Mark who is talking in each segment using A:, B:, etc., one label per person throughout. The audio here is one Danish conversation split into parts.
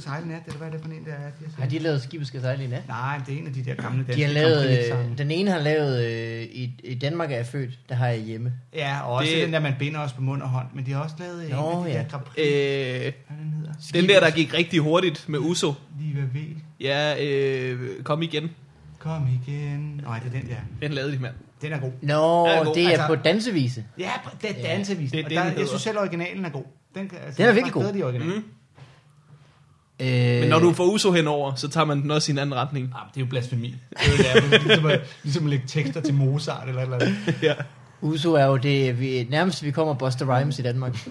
A: sejle i nat, eller hvad er det for en, der er? De har
B: Har
A: sejlet?
B: de lavet skibet skal sejle i nat?
A: Nej, men det er en af de der gamle danske
B: De har lavet,
A: kompromitsange.
B: øh, den ene har lavet øh, i, i Danmark er jeg født, der har jeg hjemme.
A: Ja, og også
C: Det-
A: det... den der, man binder også på mund og hånd. Men de har også lavet Nå, en af
B: Nå,
A: de
B: ja.
A: ja. der drapri, øh...
C: Øh,
A: hvad den hedder.
C: den der, der gik rigtig hurtigt med Uso.
A: Liva Vel,
C: Ja, øh, kom igen.
A: kom igen. Nej, det er den der.
C: Den lavede de, mand.
A: Den er god.
B: Nå,
C: Ja, god.
B: det er
A: Altså-
B: på dansevise.
A: Ja, pr- det er
B: Ja,
A: dansevis.
C: det er
A: og
C: det,
A: der,
C: den
A: jeg
C: hedder.
A: synes selv, originalen er god. Den, kan- altså,
B: Den er
A: jeg faktisk
B: virkelig god.
A: bedre i originalen.
C: Mm.
B: Øh,
C: Men når du får Uso henover, så tager man den også i en anden retning.
A: Ah, men det er jo blasfemi. Det er jo nærmest ligesom at, ligesom at lægge tekster til Mozart eller et eller andet.
C: Ja.
B: Uso er jo det, vi, nærmest vi kommer Buster Rhymes i Danmark.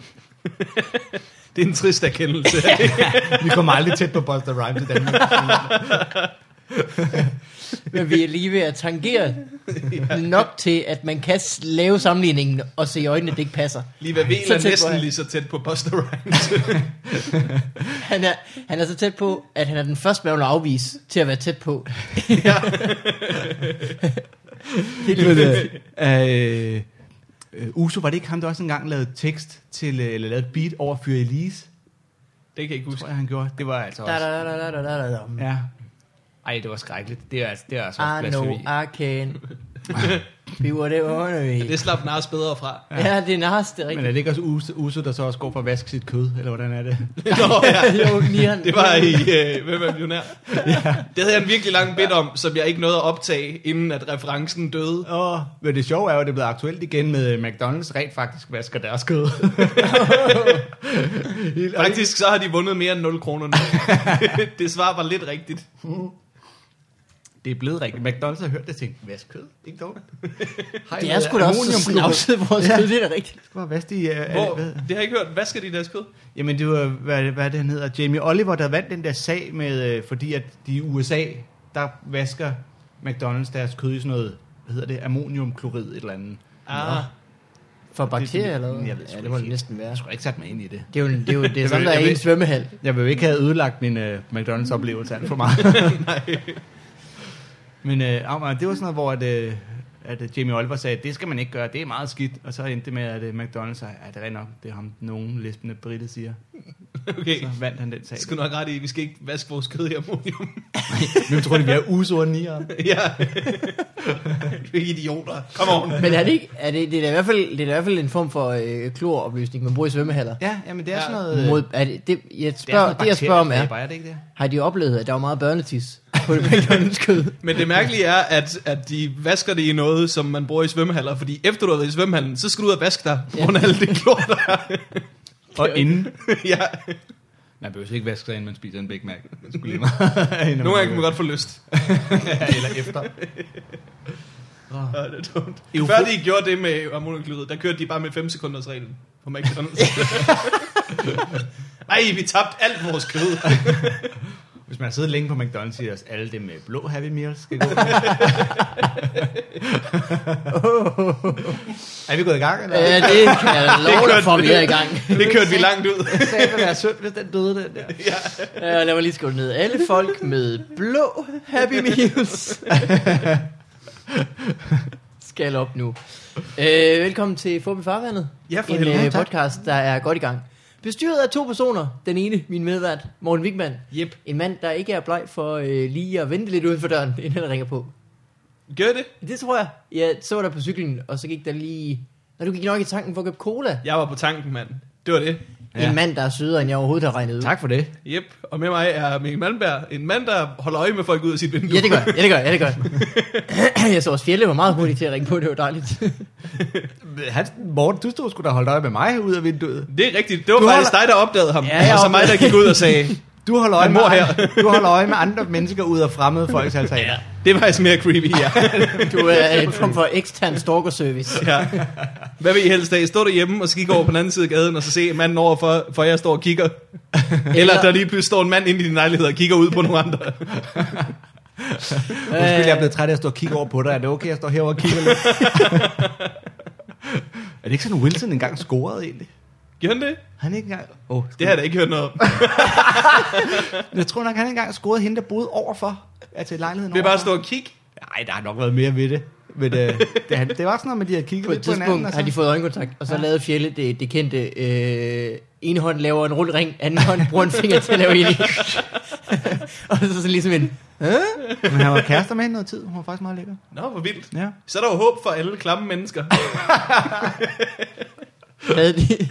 C: Det er en trist erkendelse.
A: Vi kommer aldrig tæt på Buster Rhymes i Danmark.
B: Men vi er lige ved at tangere nok til, at man kan s- lave sammenligningen og se i øjnene, at det ikke passer.
C: Lige hvad
B: Så tæt
C: Velen
B: på
C: er næsten
B: han.
C: lige så tæt på Buster Rhymes.
B: Han er, han er så tæt på, at han er den første, man vil afvise til at være tæt på.
A: øh, øh, Uso, var det ikke ham, der også engang lavede tekst til, øh, eller lavede et beat over Fyre Elise?
C: det kan jeg ikke huske.
A: Tror jeg, han gjorde. Det var altså
B: Da,
A: også...
B: da, da, da, da, da, da.
A: Ja. Ej, det var skrækkeligt. Det er altså, det er altså også
B: I know
A: blasfemi.
B: I can be whatever I
C: Det slap Nars bedre fra.
B: Ja, det er nars, det er
A: Men er
B: rigtigt.
A: det ikke også Uso, Uso, der så også går for at vaske sit kød, eller hvordan er det?
C: Nå, ja.
B: jo, nieren.
C: Det var i øh, Hvem er millionær? Det havde jeg en virkelig lang bid om, som jeg ikke nåede at optage, inden at referencen døde.
A: Åh, men det sjove er jo, at det er blevet aktuelt igen med øh, McDonald's rent faktisk vasker deres kød. Helt-
C: Faktisk så har de vundet mere end 0 kroner nu. det svar var lidt rigtigt.
A: Det er blevet rigtigt. McDonald's har hørt det og tænkt, vask kød, ikke dog?
B: Det er sgu da også så snavset vores
A: Ja.
B: kød, det er da rigtigt.
A: Skal bare vaske de... øh,
C: Hvor,
A: øh, hvad-
C: det har jeg ikke hørt. Hvad skal de i deres kød?
A: Jamen det var, hvad, hvad er det han hedder, Jamie Oliver, der vandt den der sag med, øh, fordi at de i USA, der vasker McDonald's deres kød i sådan noget, hvad hedder det, ammoniumklorid et eller andet.
C: Ah,
B: For bakterier
A: det-
B: eller hvad?
A: jeg ved sgu
B: Ja, det
A: ikke
B: må det
A: helt.
B: næsten være.
A: Jeg skulle ikke sat mig ind i det.
B: Det er jo, det er jo det er sådan,
A: vil-
B: der er
A: jeg
B: i en
A: vil-
B: svømmehal.
A: Jeg vil jo ikke have ødelagt min øh, McDonald's-oplevelse alt for meget. Men øh, Amager, det var sådan noget, hvor at, øh, at øh, Jamie Oliver sagde, det skal man ikke gøre, det er meget skidt. Og så endte det med, at øh, McDonald's sagde, ja, det er rigtig nok, det er ham, nogen lesbende britte siger.
C: okay.
A: Så vandt han den sag.
C: Det skal du nok ret i, vi skal ikke vaske vores kød i ammonium.
A: Hvem tror det, vi er usore nier?
C: ja. Vi er idioter. Kom on.
B: Men er det ikke, er det, det er da i hvert fald, det er da i hvert fald en form for øh, kloroplysning, man bruger i svømmehaller.
A: Ja, jamen det er
C: Ja.
A: sådan noget... øh,
B: Mod, er det, det, jeg
A: Det er sådan
B: spørger,
A: noget
B: det, jeg spørger om er,
A: bakteriedræber, er det ikke det?
B: har de oplevet, at der var meget børnetis på det McDonald's kød?
C: Men det mærkelige er, at, at de vasker det i noget, som man bruger i svømmehaller. Fordi efter du har været i svømmehallen, så skal du ud og vaske dig.
B: Ja.
C: Ja. Under alt det klor, der er.
A: Og inden.
C: ja.
A: Man behøver ikke vaske sig, inden man spiser en Big Mac. Det skulle lige meget.
C: Nogle gange kan man godt få lyst.
A: Eller efter.
C: Ja, Ah. det er dumt.
A: Eufo-
C: Før de gjorde det med ammoniumklorid, der kørte de bare med 5 sekunders reglen på McDonald's. Ej, vi tabte alt vores kød.
A: Hvis man har siddet længe på McDonald's, siger også alle det med blå Happy Meals. Skal gå. er vi gået i gang, eller?
B: Ja, det kan jeg love dig
C: kørte
B: for,
C: vi.
B: vi er i gang.
C: Det kørte vi langt ud.
A: Det sagde, at være synd, hvis den døde, den der.
B: Ja, lad mig lige skrive ned. Alle folk med blå Happy Meals. Skal op nu. Øh, velkommen til Forbi Farvandet.
C: Ja, for
B: en
C: helvede.
B: øh,
A: Tak.
B: podcast, der er godt i gang. Bestyret af to personer. Den ene, min medvært, Morten Wigman.
C: Jep.
B: En mand, der ikke er bleg for øh, lige at vente lidt uden for døren, inden han ringer på.
C: Gør det?
B: Det tror jeg. Jeg så dig på cyklen, og så gik der lige... Når du gik nok i tanken for at købe cola.
C: Jeg var på tanken, mand. Det var det.
B: Ja.
A: Ja.
B: En mand, der er sødere, end jeg overhovedet har regnet ud.
A: Tak for det.
C: Jep. Og med mig er Mikkel Malmberg. En mand, der holder øje med folk ud af sit vindue.
B: Ja, det gør jeg. Ja, det gør jeg. Ja, det gør jeg. jeg så også Fjelle var meget hurtig til at ringe på. Det var dejligt.
A: Hans, Morten, du stod sgu da holdt øje med mig ud af vinduet.
C: Det er rigtigt. Det var
A: Du
C: faktisk
A: holder-
C: dig, der opdagede ham.
B: Ja, jeg
C: og så mig, der gik ud og sagde,
A: Du holder øje,
C: Han
A: med,
C: bor her.
A: andre- du holder øje med andre mennesker ud af fremmede folks altaner. Ja.
C: det er faktisk mere creepy, ja.
B: Du er en form for ekstern stalker-service.
C: ja. Hvad vil I helst af? Stå derhjemme og så kigge over på den anden side af gaden, og så se manden over for, for jeg står og kigger. Eller der lige pludselig står en mand inde i din lejlighed og kigger ud på nogle andre.
A: Undskyld, jeg
B: Øh.
A: er blevet træt af at stå og kigge over på dig. Er det okay, jeg står herovre og kigger lidt? er det ikke sådan, Wilson engang scorede egentlig?
C: Gjorde han det?
A: Han ikke engang... Oh,
C: Det har jeg da ikke hørt noget om.
A: Jeg tror nok, han engang scorede hende, der boede overfor. Altså i lejligheden
C: Det er bare at
A: overfor.
C: stå og kigge.
A: Nej, der har nok været mere ved det. Men øh, det, han- det var sådan noget med, at de havde kigget
B: På et
A: lidt på hinanden.
B: tidspunkt
A: Og
B: har de
A: så,
B: fået øjenkontakt, og så
A: Ja.
B: ja. lavede Fjelle det, det kendte, øh, ene hånd laver en rund ring, anden hånd bruger en finger til at lave ild i. og så sådan ligesom en,
A: men han var kærester med hende noget tid. Hun var faktisk meget lækker.
C: Nå, hvor vildt.
A: Ja.
C: Så er der jo håb for alle klamme mennesker.
B: havde de,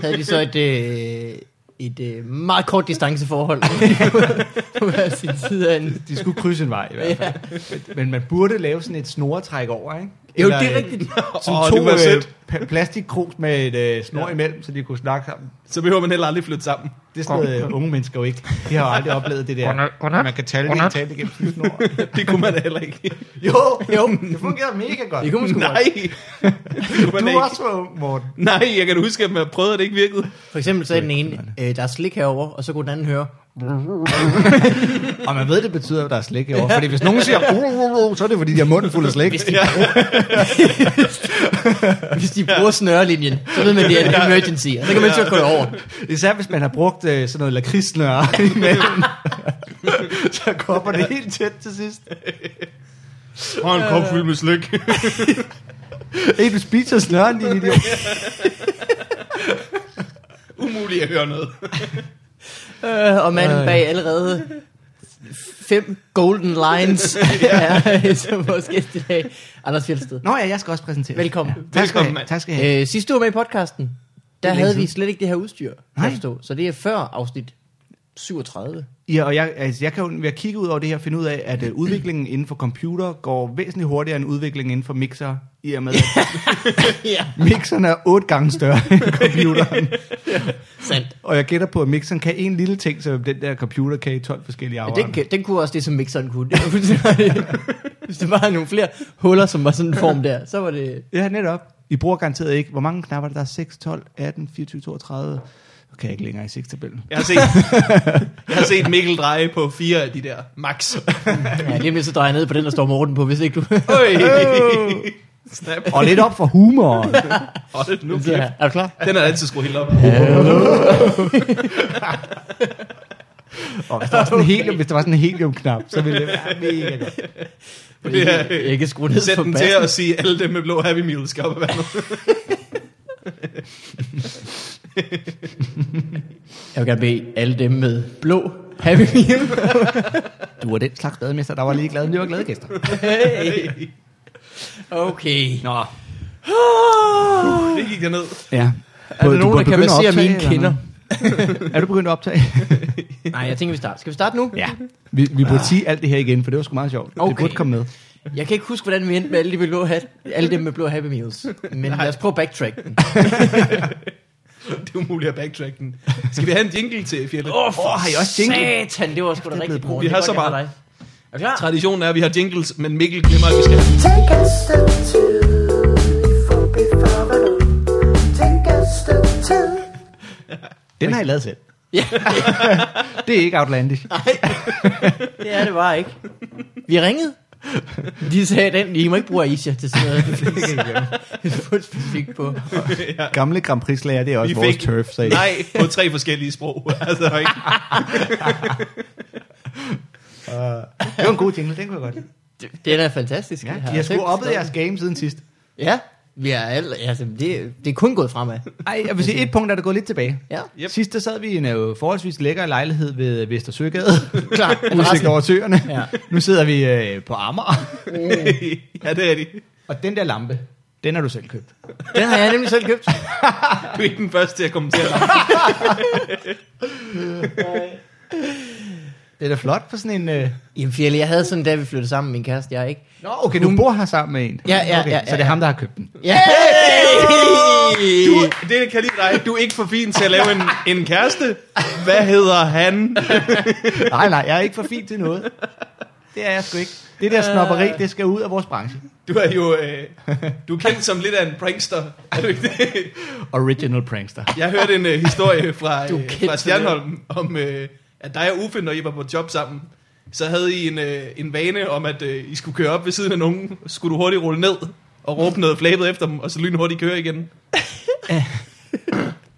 B: havde de så et, øh, et øh, meget kort distanceforhold på hver sin side af en.
A: De skulle krydse en vej i hvert fald. Men, men man burde lave sådan et snoretræk over, ikke?
B: Jo, det er
A: øh,
B: rigtigt.
A: Sådan
C: Åh,
A: to
C: det kunne være
A: øh,
C: sødt.
A: pa- plastikkrus med et øh, snor
C: Ja.
A: imellem, så de kunne snakke sammen.
C: Så behøver man heller aldrig flytte sammen.
A: Det er sådan noget, øh, unge mennesker jo ikke. De har jo aldrig oplevet det der.
D: Godnat, godnat,
A: Man kan tale det,
D: godnat.
A: tale det gennem sin snor.
C: Det kunne man da heller ikke.
A: Jo, jo, det fungerer mega godt.
B: Det kunne man sgu
C: Nej.
B: godt.
C: Det kunne man
A: Du
C: da
A: er
C: ikke.
A: også var ung, Morten.
C: Nej, jeg kan da huske, at man prøvede, at det ikke virkede.
B: For eksempel sagde den ene, øh, der er slik herover, og så kunne den anden høre,
A: Og man ved, det betyder, at der er slik i år. Fordi hvis nogen siger, uh, uh, uh, så er det, fordi de har munden fuld af slik.
B: hvis de, hvis de bruger snørlinjen, så ved man, det er en emergency, og så kan man ikke gå over.
A: Især hvis man har brugt øh, sådan noget lakridsnøre imellem. så kommer det helt tæt til sidst.
C: Og en kop fyldt med slik.
A: Hey, du spiser snøren, din idiot.
C: Umuligt at høre noget.
B: Øh, og manden bag allerede fem golden lines er som vores gæst i dag. Anders Fjeldsted.
A: Nå ja, jeg skal også præsentere.
B: Velkommen.
A: Tak skal,
C: Velkommen,
A: Velkommen,
C: mand.
A: tak skal I have.
B: Øh, sidste du var med i podcasten, der
A: længe
B: havde vi
A: siden.
B: slet ikke det her udstyr. kan
A: Nej.
B: jeg Forstå. Så det er før afsnit 37.
A: Ja, og jeg, altså, jeg kan jo ved at kigge ud over det her finde ud af, at øh, udviklingen inden for computer går væsentligt hurtigere end udviklingen inden for mixer, i og med, at
B: ja,
A: mixeren er otte gange større end computeren.
B: sandt.
A: Og jeg gætter på, at mixeren kan en lille ting, som den der computer kan i 12 forskellige
B: Ja,
A: afrører.
B: den, kan- den kunne også det, som mixeren kunne. Det var fuldstændig- Hvis der var nogle flere huller, som var sådan en form der, så var det...
A: Ja, netop. I bruger garanteret ikke. Hvor mange knapper er der? Der er 6, 12, 18, 24, 32. Nu kan jeg ikke længere i 6-tabellen.
C: Jeg har set, jeg har set Mikkel dreje på fire af de der max.
B: Ja, lige om lidt så drejer jeg ned på den, der står Morten på, hvis ikke du...
C: Øj. Snap.
A: Og lidt op for humor.
C: Hold nu
B: Så
C: kæft.
B: her. Er du klar?
C: Den er altid skruet helt op.
A: Og hvis der var sådan en helium, hvis der var sådan en heliumknap, så ville det være mega godt.
C: Ja.
B: Jeg kan ikke skrue ned
C: Sæt
B: for
C: den til
B: bassen.
C: at sige, at alle dem med blå Happy Meal skal op af vandet.
B: Jeg vil gerne bede alle dem med blå Happy Meal.
A: Du er den slags bademester, der var lige glad, men det var glade gæster.
B: Hey. Okay.
A: Nå.
C: Det gik derned.
A: Ja.
B: Er der nogen, der kan massere mine kinder?
A: Er du begyndt at optage?
B: Nej, jeg tænker, vi starter. Skal vi starte nu?
A: ja. Vi, vi burde sige alt det her igen, for det var sgu meget sjovt. Det
B: Okay.
A: burde komme med.
B: Jeg kan ikke huske, hvordan vi endte med alle, de med blå, hat, alle dem med blå Happy Meals. Men lad os prøve at backtrack den.
C: Det er umuligt at backtrack den. Skal vi have en jingle til, Fjellet?
B: Åh, oh, for
A: har I også jingle?
B: Satan, det var sgu
A: er
B: da rigtig
A: blevet
B: brugt.
C: Vi har så meget.
B: Er du klar?
C: Traditionen er, at vi har jingles, men Mikkel glemmer, at vi skal have
E: Take a step two before before the Take a step two.
A: Den har I lavet selv.
B: Ja.
A: Det er ikke outlandish.
B: Det er det bare ikke. Vi ringede. De sagde den, I må ikke bruge Aisha til sådan noget. Det er fuldt specifikt på.
A: Gamle Grand Prix-lager, det er også
C: Vi
A: vores
C: fik-
A: turf, sagde jeg.
C: nej på tre forskellige sprog. Altså, der er ikke.
A: Det var en god jingle, den kunne jeg godt lide.
B: Det, den er fantastisk.
A: Ja,
B: Det har
A: I har sgu
B: selv
A: oppet
B: forstået.
A: jeres game siden sidst.
B: Ja, vi er alle, altså, det, det er kun gået fremad.
A: Ej, jeg vil sige, et punkt er der gået lidt tilbage.
B: Ja.
A: Yep.
C: Yep.
A: Sidst der sad vi i en øh, forholdsvis lækker lejlighed ved Vestersøgade.
B: Klart.
A: Udsigt over søerne.
B: Ja.
A: Nu sidder vi øh, på Amager.
B: Mm.
C: ja, det er de.
A: Og den der lampe, den har du selv købt.
B: Den har jeg nemlig selv købt.
C: Du er ikke den første til at kommentere.
A: Det er da flot for sådan en... Øh...
B: Jamen Fjelle, jeg havde sådan, da vi flyttede sammen, min kæreste, jeg ikke.
A: Nå, okay, du bor her sammen med en.
B: Ja, ja,
A: okay,
B: ja, ja,
A: Så det er
B: ja.
A: ham, der har købt den.
B: Ja!
C: Du, det kan lige dig. Du er ikke for fin til at lave en, en kæreste. Hvad hedder han?
A: Nej, nej, jeg er ikke for fin til noget. Det er jeg sgu ikke. Det
B: Øh.
A: der snopperi, det skal ud af vores branche.
C: Du er jo øh, du er kendt som lidt af en prankster. Er du ikke det?
A: Original prankster.
C: Jeg hørte en øh, historie fra,
B: Du er
C: øh,
B: kendt
C: fra
B: til
C: Stjernholm om, øh, at dig og Uffe, når I var på job sammen, så havde I en, øh, en vane om, at øh, I skulle køre op ved siden af nogen, skulle du hurtigt rulle ned og råbe noget flabet efter dem, og så lynhurtigt køre igen.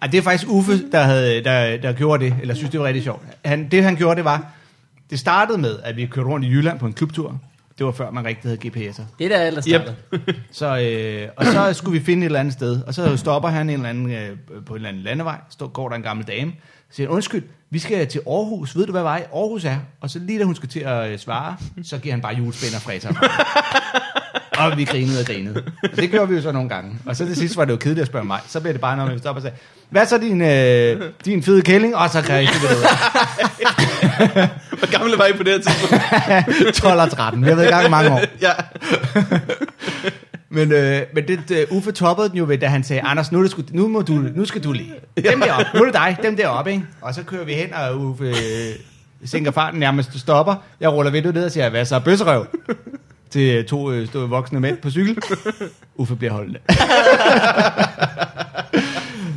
A: Ej, det er faktisk Uffe, der, havde, der, der gjorde det, eller synes, det var rigtig sjovt. Han, det, han gjorde, det var, det startede med, at vi kørte rundt i Jylland på en klubtur, Det var før, man rigtig havde GPS'er.
B: Det er der ellers yep.
A: Så, øh, og så skulle vi finde et eller andet sted, og så stopper han en eller anden, øh, på en eller anden landevej, så går der en gammel dame, så siger han, undskyld, vi skal til Aarhus, ved du hvad vej Aarhus er? Og så lige da hun skulle til at øh, svare, så giver han bare julespænd og fræser. og vi grinede og grinede. Og det gjorde vi jo så nogle gange. Og så til sidst var det jo kedeligt at spørge mig. Så blev det bare, når man stopper og sagde, hvad så din, øh, din fede kælling? Og så kan jeg ikke det ud.
C: Hvor gammel var I på det her tidspunkt?
A: 12 og 13. Vi har været i gang i mange år.
C: ja.
A: Men, øh, men det, øh, Uffe toppede den jo ved, da han sagde, Anders, nu, er det sgu, nu, må du, nu skal du lige. Dem deroppe, nu er det dig, dem deroppe, ikke? Og så kører vi hen, og Uffe øh, sænker farten nærmest stopper. Jeg ruller vinduet ned og siger, hvad så, bøsserøv? Til to øh, stå voksne mænd på cykel. Uffe bliver holdende.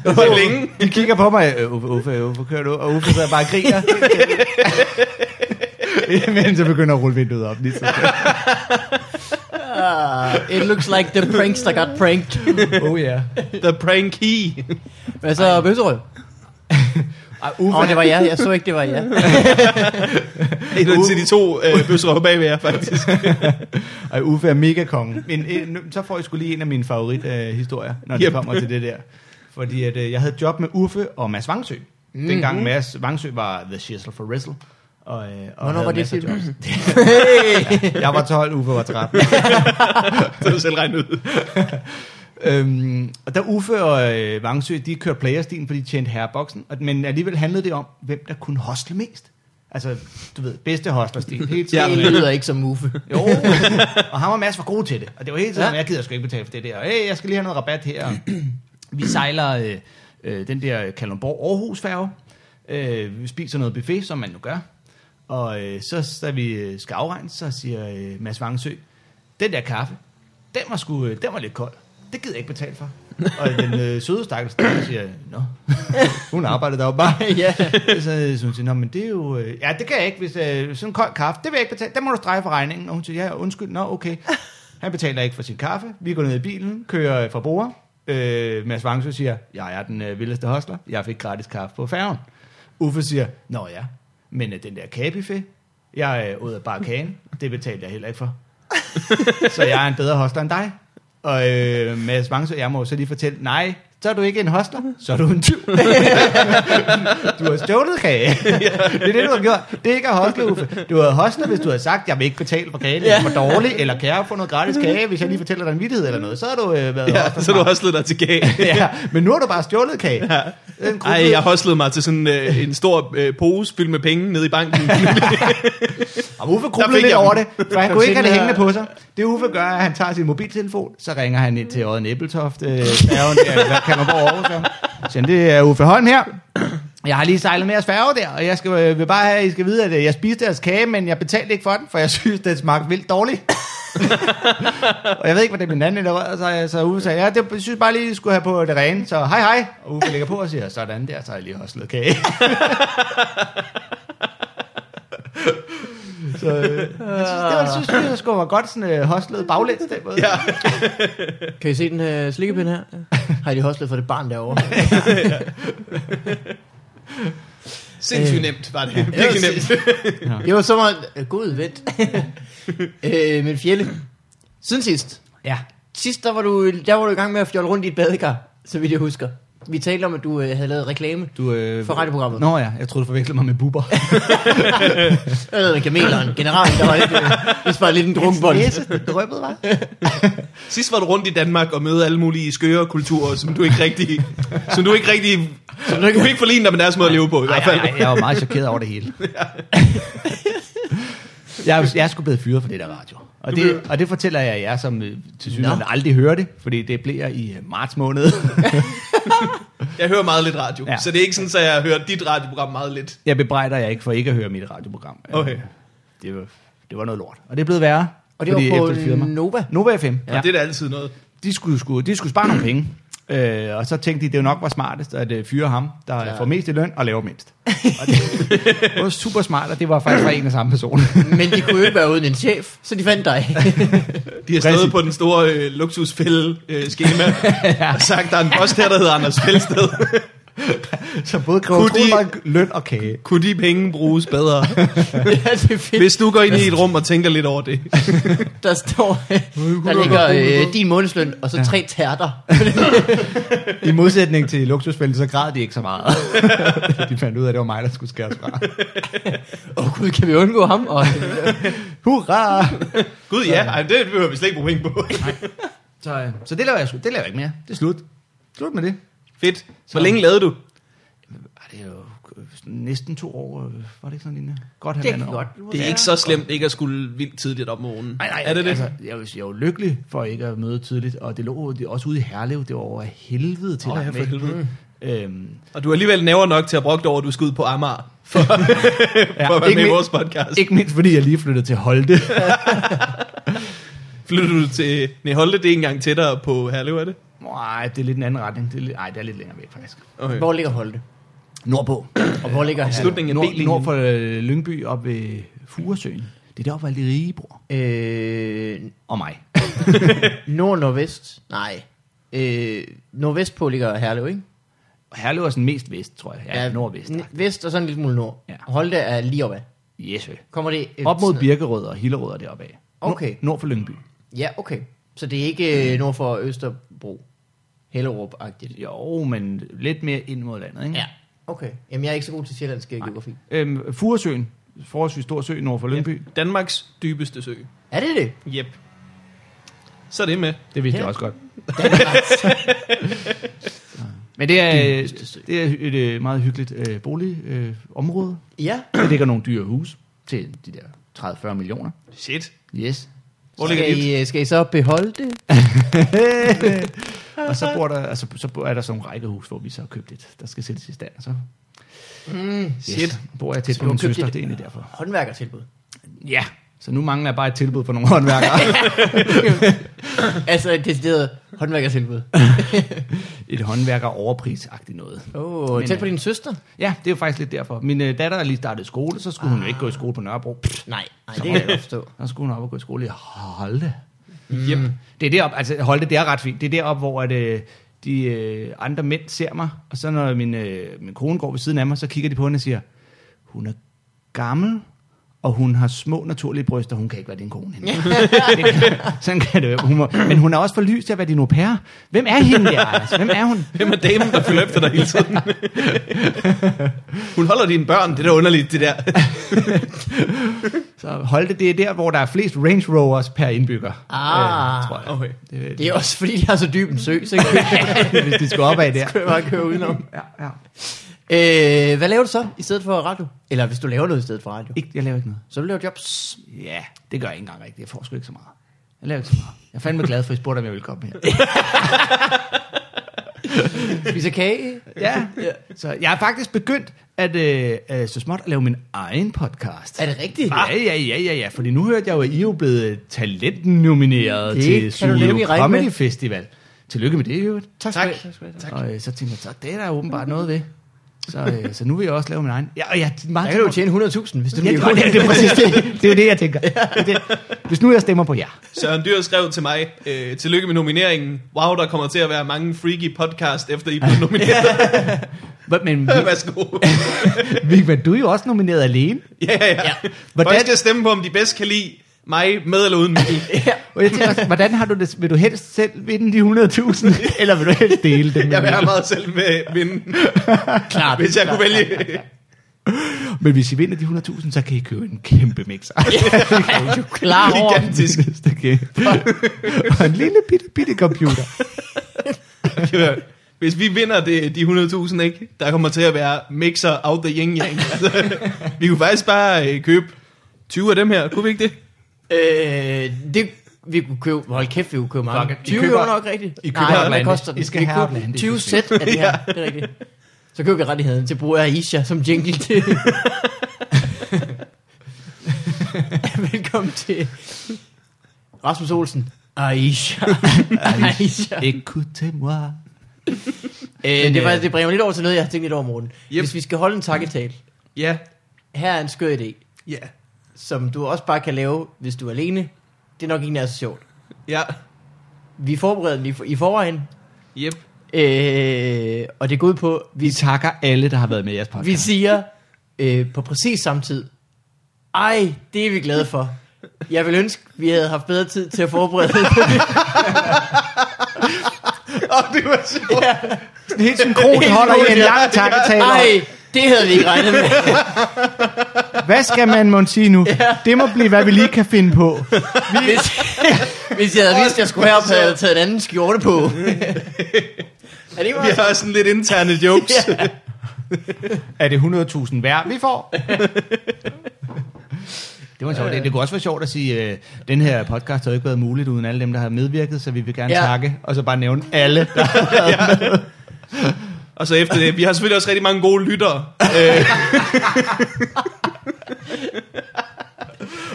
C: Hvor længe?
A: De kigger på mig, øh, Uffe, Uffe, Uffe, kører du? Og Uffe sidder bare og griner. Men så begynder at rulle vinduet op lige så.
B: Uh, it looks like the prankster got pranked.
A: Oh yeah.
C: The pranky.
B: Hvad så, Bøsserød?
A: Ej,
B: Åh,
A: Uffe,
B: oh, det var jeg. Jeg så ikke, det var jeg.
C: Det er til de to øh, bøsserøve bagved jer, faktisk.
A: Ej, Uffe er mega kongen. Men øh, nu- så får jeg skulle lige en af mine favorithistorier, øh, historier, når det
C: Yep.
A: kommer til det der. Fordi at, øh, jeg havde et job med Uffe og Mads Vangsø.
B: Mhm.
A: Mm. Dengang Mads Vangsø var The Shizzle for Wrestle. Og, øh, og havde
B: var det
A: masser af
B: film?
A: jobs. jeg var 12, Uffe var 13.
C: Det er du selv regnet ud.
A: Øhm, og der Uffe og øh, Vangsø, de kørte playerstien, fordi de tjente herreboksen. Og, men alligevel handlede det om, hvem der kunne hostle mest. Altså, du ved, bedste hostlerstil. Helt tiden.
B: Det lyder ikke som Uffe.
A: Jo, og ham og Mads var gode til det. Og det var hele tiden,
B: Ja.
A: ja. jeg gider sgu ikke betale for det der. Og hey, jeg skal lige have noget rabat her. Og vi sejler øh, øh, den der Kalundborg Aarhus færge. Øh, vi spiser noget buffet, som man nu gør. Og øh, så da vi øh, skal afregne, så siger øh, Mads Vangsø, den der kaffe, den var, sgu, øh, den var lidt kold. Det gider jeg ikke betale for. Og den øh, søde stakkels dame siger, nå, hun arbejder deroppe bare.
B: ja.
A: Så synes jeg, "Nå, men det er jo... øh, Ja, det kan jeg ikke, hvis øh, sådan en kold kaffe, det vil jeg ikke betale. Den må du strege for regningen. Og hun siger, ja, undskyld, nå, okay. Han betaler ikke for sin kaffe. Vi går ned i bilen, kører øh, fra bordet. Øh, Mads Vangsø siger, jeg er den øh, vildeste hostler. Jeg fik gratis kaffe på færgen. Uffe siger, nå ja, men øh, den der kagebuffet, jeg øh, ud af bare kagen, det betalte jeg heller ikke for. så jeg er en bedre hostler end dig. Og øh, Mads Vangsø, jeg må jo så lige fortælle, nej, så er du ikke en hostler, så er du en tyv. Du har stjålet kage. Det er det, du har gjort. Det er ikke at hostle, Uffe. Du har hostlet, hvis du har sagt, jeg vil ikke betale for kagen, jeg er for dårlig, eller kan jeg få noget gratis kage, hvis jeg lige fortæller dig en vittighed eller noget. Så har du øh, været
C: Ja,
A: hostler.
C: så du hostlede dig til gag.
A: ja, men nu har du bare stjålet kage. Ja. En gruppe,
C: Ej, jeg hostlede mig til sådan øh, en stor øh, pose fyldt med penge nede i banken.
A: Og Uffe
C: Der fik
A: grublede lidt
C: jeg
A: over
C: den.
A: det, for han
B: Kom
A: kunne ikke have
B: til
A: det
B: den her.
A: hængende på sig. Det Uffe gør, er, at han tager sin mobiltelefon, så ringer han ind til Odden Æbeltoft, øh, færgen der, hvad kan man borge over så? Så siger han, det er Uffe Holm her. Jeg har lige sejlet med jeres færge der, og jeg skal, øh, vil bare have, at I skal vide, at øh, jeg spiste deres kage, men jeg betalte ikke for den, for jeg synes, den smagte vildt dårligt. og jeg ved ikke, hvordan min anden eller så, så Uffe sagde, ja, det jeg synes bare lige, I skulle have på det rene, så hej hej. Og Uffe lægger på og siger, sådan der, så har jeg lige hostlet kage. Så øh, jeg synes, det var, synes, jeg, det skulle være godt sådan øh, hostlet baglæns den måde. Ja.
B: Kan I se den her slikkepind her? Har de hostlet for det barn derovre?
C: Sindssygt
B: Øh.
C: nemt var det. Virkelig
B: Ja,
C: nemt.
B: Det var så meget... øh, God vent. øh, men Fjelle, siden sidst.
A: ja.
B: Sidst, der var, du, der var du i gang med at fjolle rundt i et badekar, så vidt jeg husker. Vi talte om, at du øh, havde lavet reklame
A: Du, øh,
B: for radioprogrammet.
A: Nå ja, jeg troede, du forvekslede mig med buber.
B: Jeg ved, Øh, kameleren, generalen, der var lidt, øh, det var lidt en drukbold.
A: det drøbbede, var.
C: Sidst var du rundt i Danmark og mødte alle mulige skøre kulturer, som du ikke rigtig... Som du ikke rigtig... Som du ikke, du kan ikke forligne dig med deres måde at leve på, i hvert fald.
A: Ej, ej, jeg var meget chokeret over det hele. Jeg, er- jeg er sgu blevet fyret for det der radio. Og det, og det fortæller jeg jer, som øh, til synligheden
B: Nå.
A: aldrig hører det, fordi det blev jeg i øh, marts måned.
C: Jeg hører meget lidt radio,
A: Ja.
C: så det er ikke sådan, at jeg har hørt dit radioprogram meget lidt.
A: Jeg bebrejder jer ikke for ikke at høre mit radioprogram. Øh,
C: Okay.
A: Det var, det var noget lort. Og det er blevet værre.
B: Og det
A: fordi
B: var
A: efter de fyrede
B: på
A: mig.
B: Nova.
A: Nova FM.
C: Ja. Og det er da altid noget.
A: de skulle, skulle, de skulle spare nogle penge. Øh, og så tænkte de, det jo nok var smartest at øh, fyre ham, der
B: Ja.
A: ja. får mest i løn og laver mindst. Og det, det var super smart, og det var faktisk fra en og samme person.
B: Men de kunne jo ikke være uden en chef, så de fandt dig.
C: De har stået
A: Præcis.
C: på den store øh, luksusfælde øh, skema og sagt, der er en post her, der hedder Anders Fældsted.
A: som både kræver
C: Kunne de-
A: de... løn og kage.
C: Kunne de penge bruges bedre?
B: ja, Altså, det er fedt.
C: Hvis du går ind i et rum og tænker lidt over det.
B: Der står, der ligger øh, din månedsløn, og så tre tærter.
A: I modsætning til luksusfælden, så græd de ikke så meget. de fandt ud af, at det var mig, der skulle skæres fra.
B: Åh oh, gud, kan vi undgå ham? Og,
A: Hurra!
C: Gud ja, ej, men det behøver vi slet ikke bruge penge på.
A: Så, øh, så det laver jeg sgu. Det laver jeg ikke mere. Det er slut. Slut med det.
C: Fedt. Hvor længe lavede du?
A: Ej, det er jo øh, sådan næsten to år. øh, Var det ikke sådan, Lina? Godt
B: det
A: halvandet
B: kan
A: år.
B: godt.
C: Det er ikke så slemt ikke at skulle vildt tidligt op om morgenen.
A: Nej, nej,
C: er det det?
A: Altså, jeg, var, jeg var lykkelig for ikke at møde tidligt, og det lå det, også ude i Herlev, det var over af helvede til
C: Åh, ja,
A: langt
C: for
A: væk.
C: helvede.
A: Øhm,
C: Og du er alligevel næver nok til at brokke dig over, at du skal ud på Amager for, for at være
A: ikke
C: med i
A: mi-
C: vores podcast.
A: ikke mindst fordi jeg lige flyttede til Holte.
C: Flytter du til... Nej, hold det, det er ikke engang tættere på Herlev, er det?
A: Nej, det er lidt en anden retning. Det er, lidt- ej, det er lidt længere væk faktisk.
C: Okay.
B: Hvor ligger Holte?
A: Nordpå.
B: Og hvor ligger han?
C: Øh. Slutningen af
A: Nord,
C: B-linjen.
A: nord for øh, Lyngby op ved Furesøen. Det er deroppe, hvor alle de rige bor.
B: Øh,
A: Og mig.
B: nord-nordvest? Nej. Øh, nordvest på ligger Herlev, ikke?
A: Og Herlev er sådan mest vest, tror jeg. Ja, ja nordvest.
B: n- Vest og sådan en lille smule nord.
A: Ja.
B: Holte er lige opad.
A: Yes, øh.
B: Kommer det... øh,
A: Op mod
B: sådan-
A: Birkerød og Hillerød er deroppe af. Nord,
B: Okay.
A: Nord for Lyngby.
B: Ja, okay. Så det er ikke øh, nord for Østerbro. Hellerup-agtigt.
A: Jo, men lidt mere ind mod landet, ikke?
B: Ja. Okay. Jamen, jeg er ikke så god til sjællandsk øh, geografi.
A: Øhm, Furesøen, forholdsvis stor sø nord for Lyngby. Ja.
C: Danmarks dybeste sø.
B: Er det det?
C: Yep. Så er det med.
A: Det vidste
B: Ja.
A: jeg også godt. Men det er, øh, det er et øh, meget hyggeligt øh, boligområde. Øh, område.
B: Ja.
A: Der ligger nogle dyre huse til de der 30-40 millioner.
C: Shit.
A: Yes.
C: Hvor ligger
B: skal,
C: dit?
B: I, øh, skal I så beholde det?
A: og så, bor der, altså, så bor- er der sådan nogle rækkehus, hvor vi så har købt et, der skal sættes i stand. Så
B: Mm,
C: Shit.
A: bor jeg tæt
B: Så
A: på
B: du har
A: min
B: købt
A: søster,
B: et-
A: det er egentlig derfor.
B: håndværkertilbud.
A: Ja, så nu mangler jeg bare et tilbud på nogle håndværkere.
B: altså et decideret håndværkertilbud.
A: et håndværker overprisagtigt noget.
B: Åh, oh,
A: Men,
B: tæt
A: øh,
B: på din søster?
A: Ja, det er jo faktisk lidt derfor. Min øh, datter er lige startet i skole, så skulle hun jo ikke gå i skole på Nørrebro. Pff,
B: Nej, nej
A: Så
B: det kan
A: må
B: jeg godt forstå.
A: så skulle hun op og gå i skole i Holde.
C: Yep.
A: Det er derop, altså Holte, det er ret fint. Det er derop, hvor at, øh, de øh, andre mænd ser mig, og så når min, øh, min kone går ved siden af mig, så kigger de på hende og siger, hun er gammel, og hun har små naturlige bryster, hun kan ikke være din kone. Hende. Det kan- Sådan kan det være. Hun må, men hun er også for lys til at være din au pair. Hvem er hende der, Anders? Hvem er hun?
C: Hvem er damen, der følger efter dig hele tiden? Hun holder dine børn. Det er da underligt, det der.
A: Så Holte, det er der, hvor der er flest Range Rovers per indbygger. øh,
B: Ah.
A: tror jeg.
C: Okay.
A: Det,
B: Det er også fordi, de har så dyb en sø, så kan
A: det, hvis de skal op af der.
B: jeg bare køre udenom.
A: Ja, ja.
B: Øh, hvad laver du så i stedet for radio? Eller hvis du laver noget i stedet for radio?
A: Ikke, jeg laver ikke noget.
B: Så du laver jobs.
A: Ja, det gør jeg ikke engang rigtigt. Jeg får sgu ikke så meget. Jeg laver ikke så meget. Jeg er fandme glad for, at I spurgte, om jeg ville komme her.
B: Spiser kage.
A: Ja, så jeg er faktisk begyndt at øh, øh, så småt at lave min egen podcast.
B: Er det rigtigt?
A: Ja, ja, ja, ja, ja, fordi nu hørte jeg jo, at I er jo blevet talentnomineret
B: Det
A: til
B: kan du nemlig
A: Zulu
B: regne
A: Comedy
B: med.
A: Festival. Tillykke med det, Jørgen.
B: Tak.
C: Tak.
B: skal du have.
A: Tak. Og øh, så tænkte jeg, så det er der åbenbart noget ved. Så, øh, så nu vil jeg også lave min egen. Ja, og jeg,
B: Der
A: meget
B: kan du jo tjene 100.000, hvis du
A: Ja, det,
B: bliver
A: det, det, det, er præcis det. det er jo det, jeg tænker. Det er det. Hvis nu jeg stemmer på jer.
C: Søren Dyr skrev til mig, øh, tillykke med nomineringen. Wow, der kommer til at være mange freaky podcast, efter I blev nomineret.
A: Hva- Men
C: Værsgo.
A: Vigman, du er jo også nomineret alene.
C: ja, ja, ja.
A: Hvordan-
C: Folk skal stemme på, om de bedst kan lide mig med eller uden Mikkel.
A: Og jeg tænker, også, hvordan har du det? Vil du helst selv vinde de 100.000, eller vil du helst dele dem?
C: Jeg vil have
A: Med?
C: meget selv med vinden,
B: Klart.
C: hvis jeg kunne vælge.
A: Men hvis I vinder de 100.000, så kan I købe en kæmpe mixer.
B: Er du klar over?
C: Gigantisk.
A: Næste game. Og en lille bitte, bitte computer.
C: Hør, Hvis vi vinder det, de 100.000, ikke? Der kommer til at være mixer out the yin yang. Altså, vi kunne faktisk bare øh, købe 20 af dem her, kunne vi ikke det?
B: Øh, det vi kunne købe, hold kæft, vi kunne købe mange.
A: Fuck it. I
B: 20
A: køber-
B: køber, nok rigtigt.
A: I køber
B: Nej, hvad
A: Outlandish.
B: koster den?
A: I skal
B: vi
A: have
B: køber
A: Outlandish.
B: 20 sæt af det her, det er rigtigt. Så køber vi rettigheden til brug af Aisha som jingle til. Velkommen til Rasmus Olsen. Aisha. Aisha.
A: Écoutez-moi.
B: Øh, det, var, det bringer mig lidt over til noget, jeg har tænkt lidt over, Morten.
C: Yep.
B: Hvis vi skal holde en takketal,
C: Ja.
B: her er en skør idé,
C: Ja.
B: som du også bare kan lave, hvis du er alene. Det er nok ikke nær så sjovt.
C: Ja.
B: Vi forbereder den i, for, i forvejen,
C: Yep.
B: Øh, og det går ud på,
A: Vi takker alle, der har været med i jeres podcast.
B: vi siger øh, på præcis samme tid, ej, det er vi glade for. Jeg vil ønske, vi havde haft bedre tid til at forberede
C: Og det var sjovt.
B: Ja.
A: Sådan helt synkron holder i en lang takketaler.
B: Ej, det havde vi ikke regnet med.
A: Hvad skal man må sige nu? Det må blive, hvad vi lige kan finde på.
B: Hvis, hvis jeg havde vidst, at jeg skulle herop, havde jeg taget en anden skjorte på. er det ikke
C: Vi
B: meget?
C: har sådan lidt interne jokes.
A: Er det 100.000 hver, vi får? Det var en sjov idé. Det kunne også være sjovt at sige, øh, den her podcast havde ikke været muligt uden alle dem, der har medvirket, så vi vil gerne
B: Ja.
A: ja. takke, og så bare nævne alle. Der.
C: Og så efter det, vi har selvfølgelig også rigtig mange gode lyttere. Øh,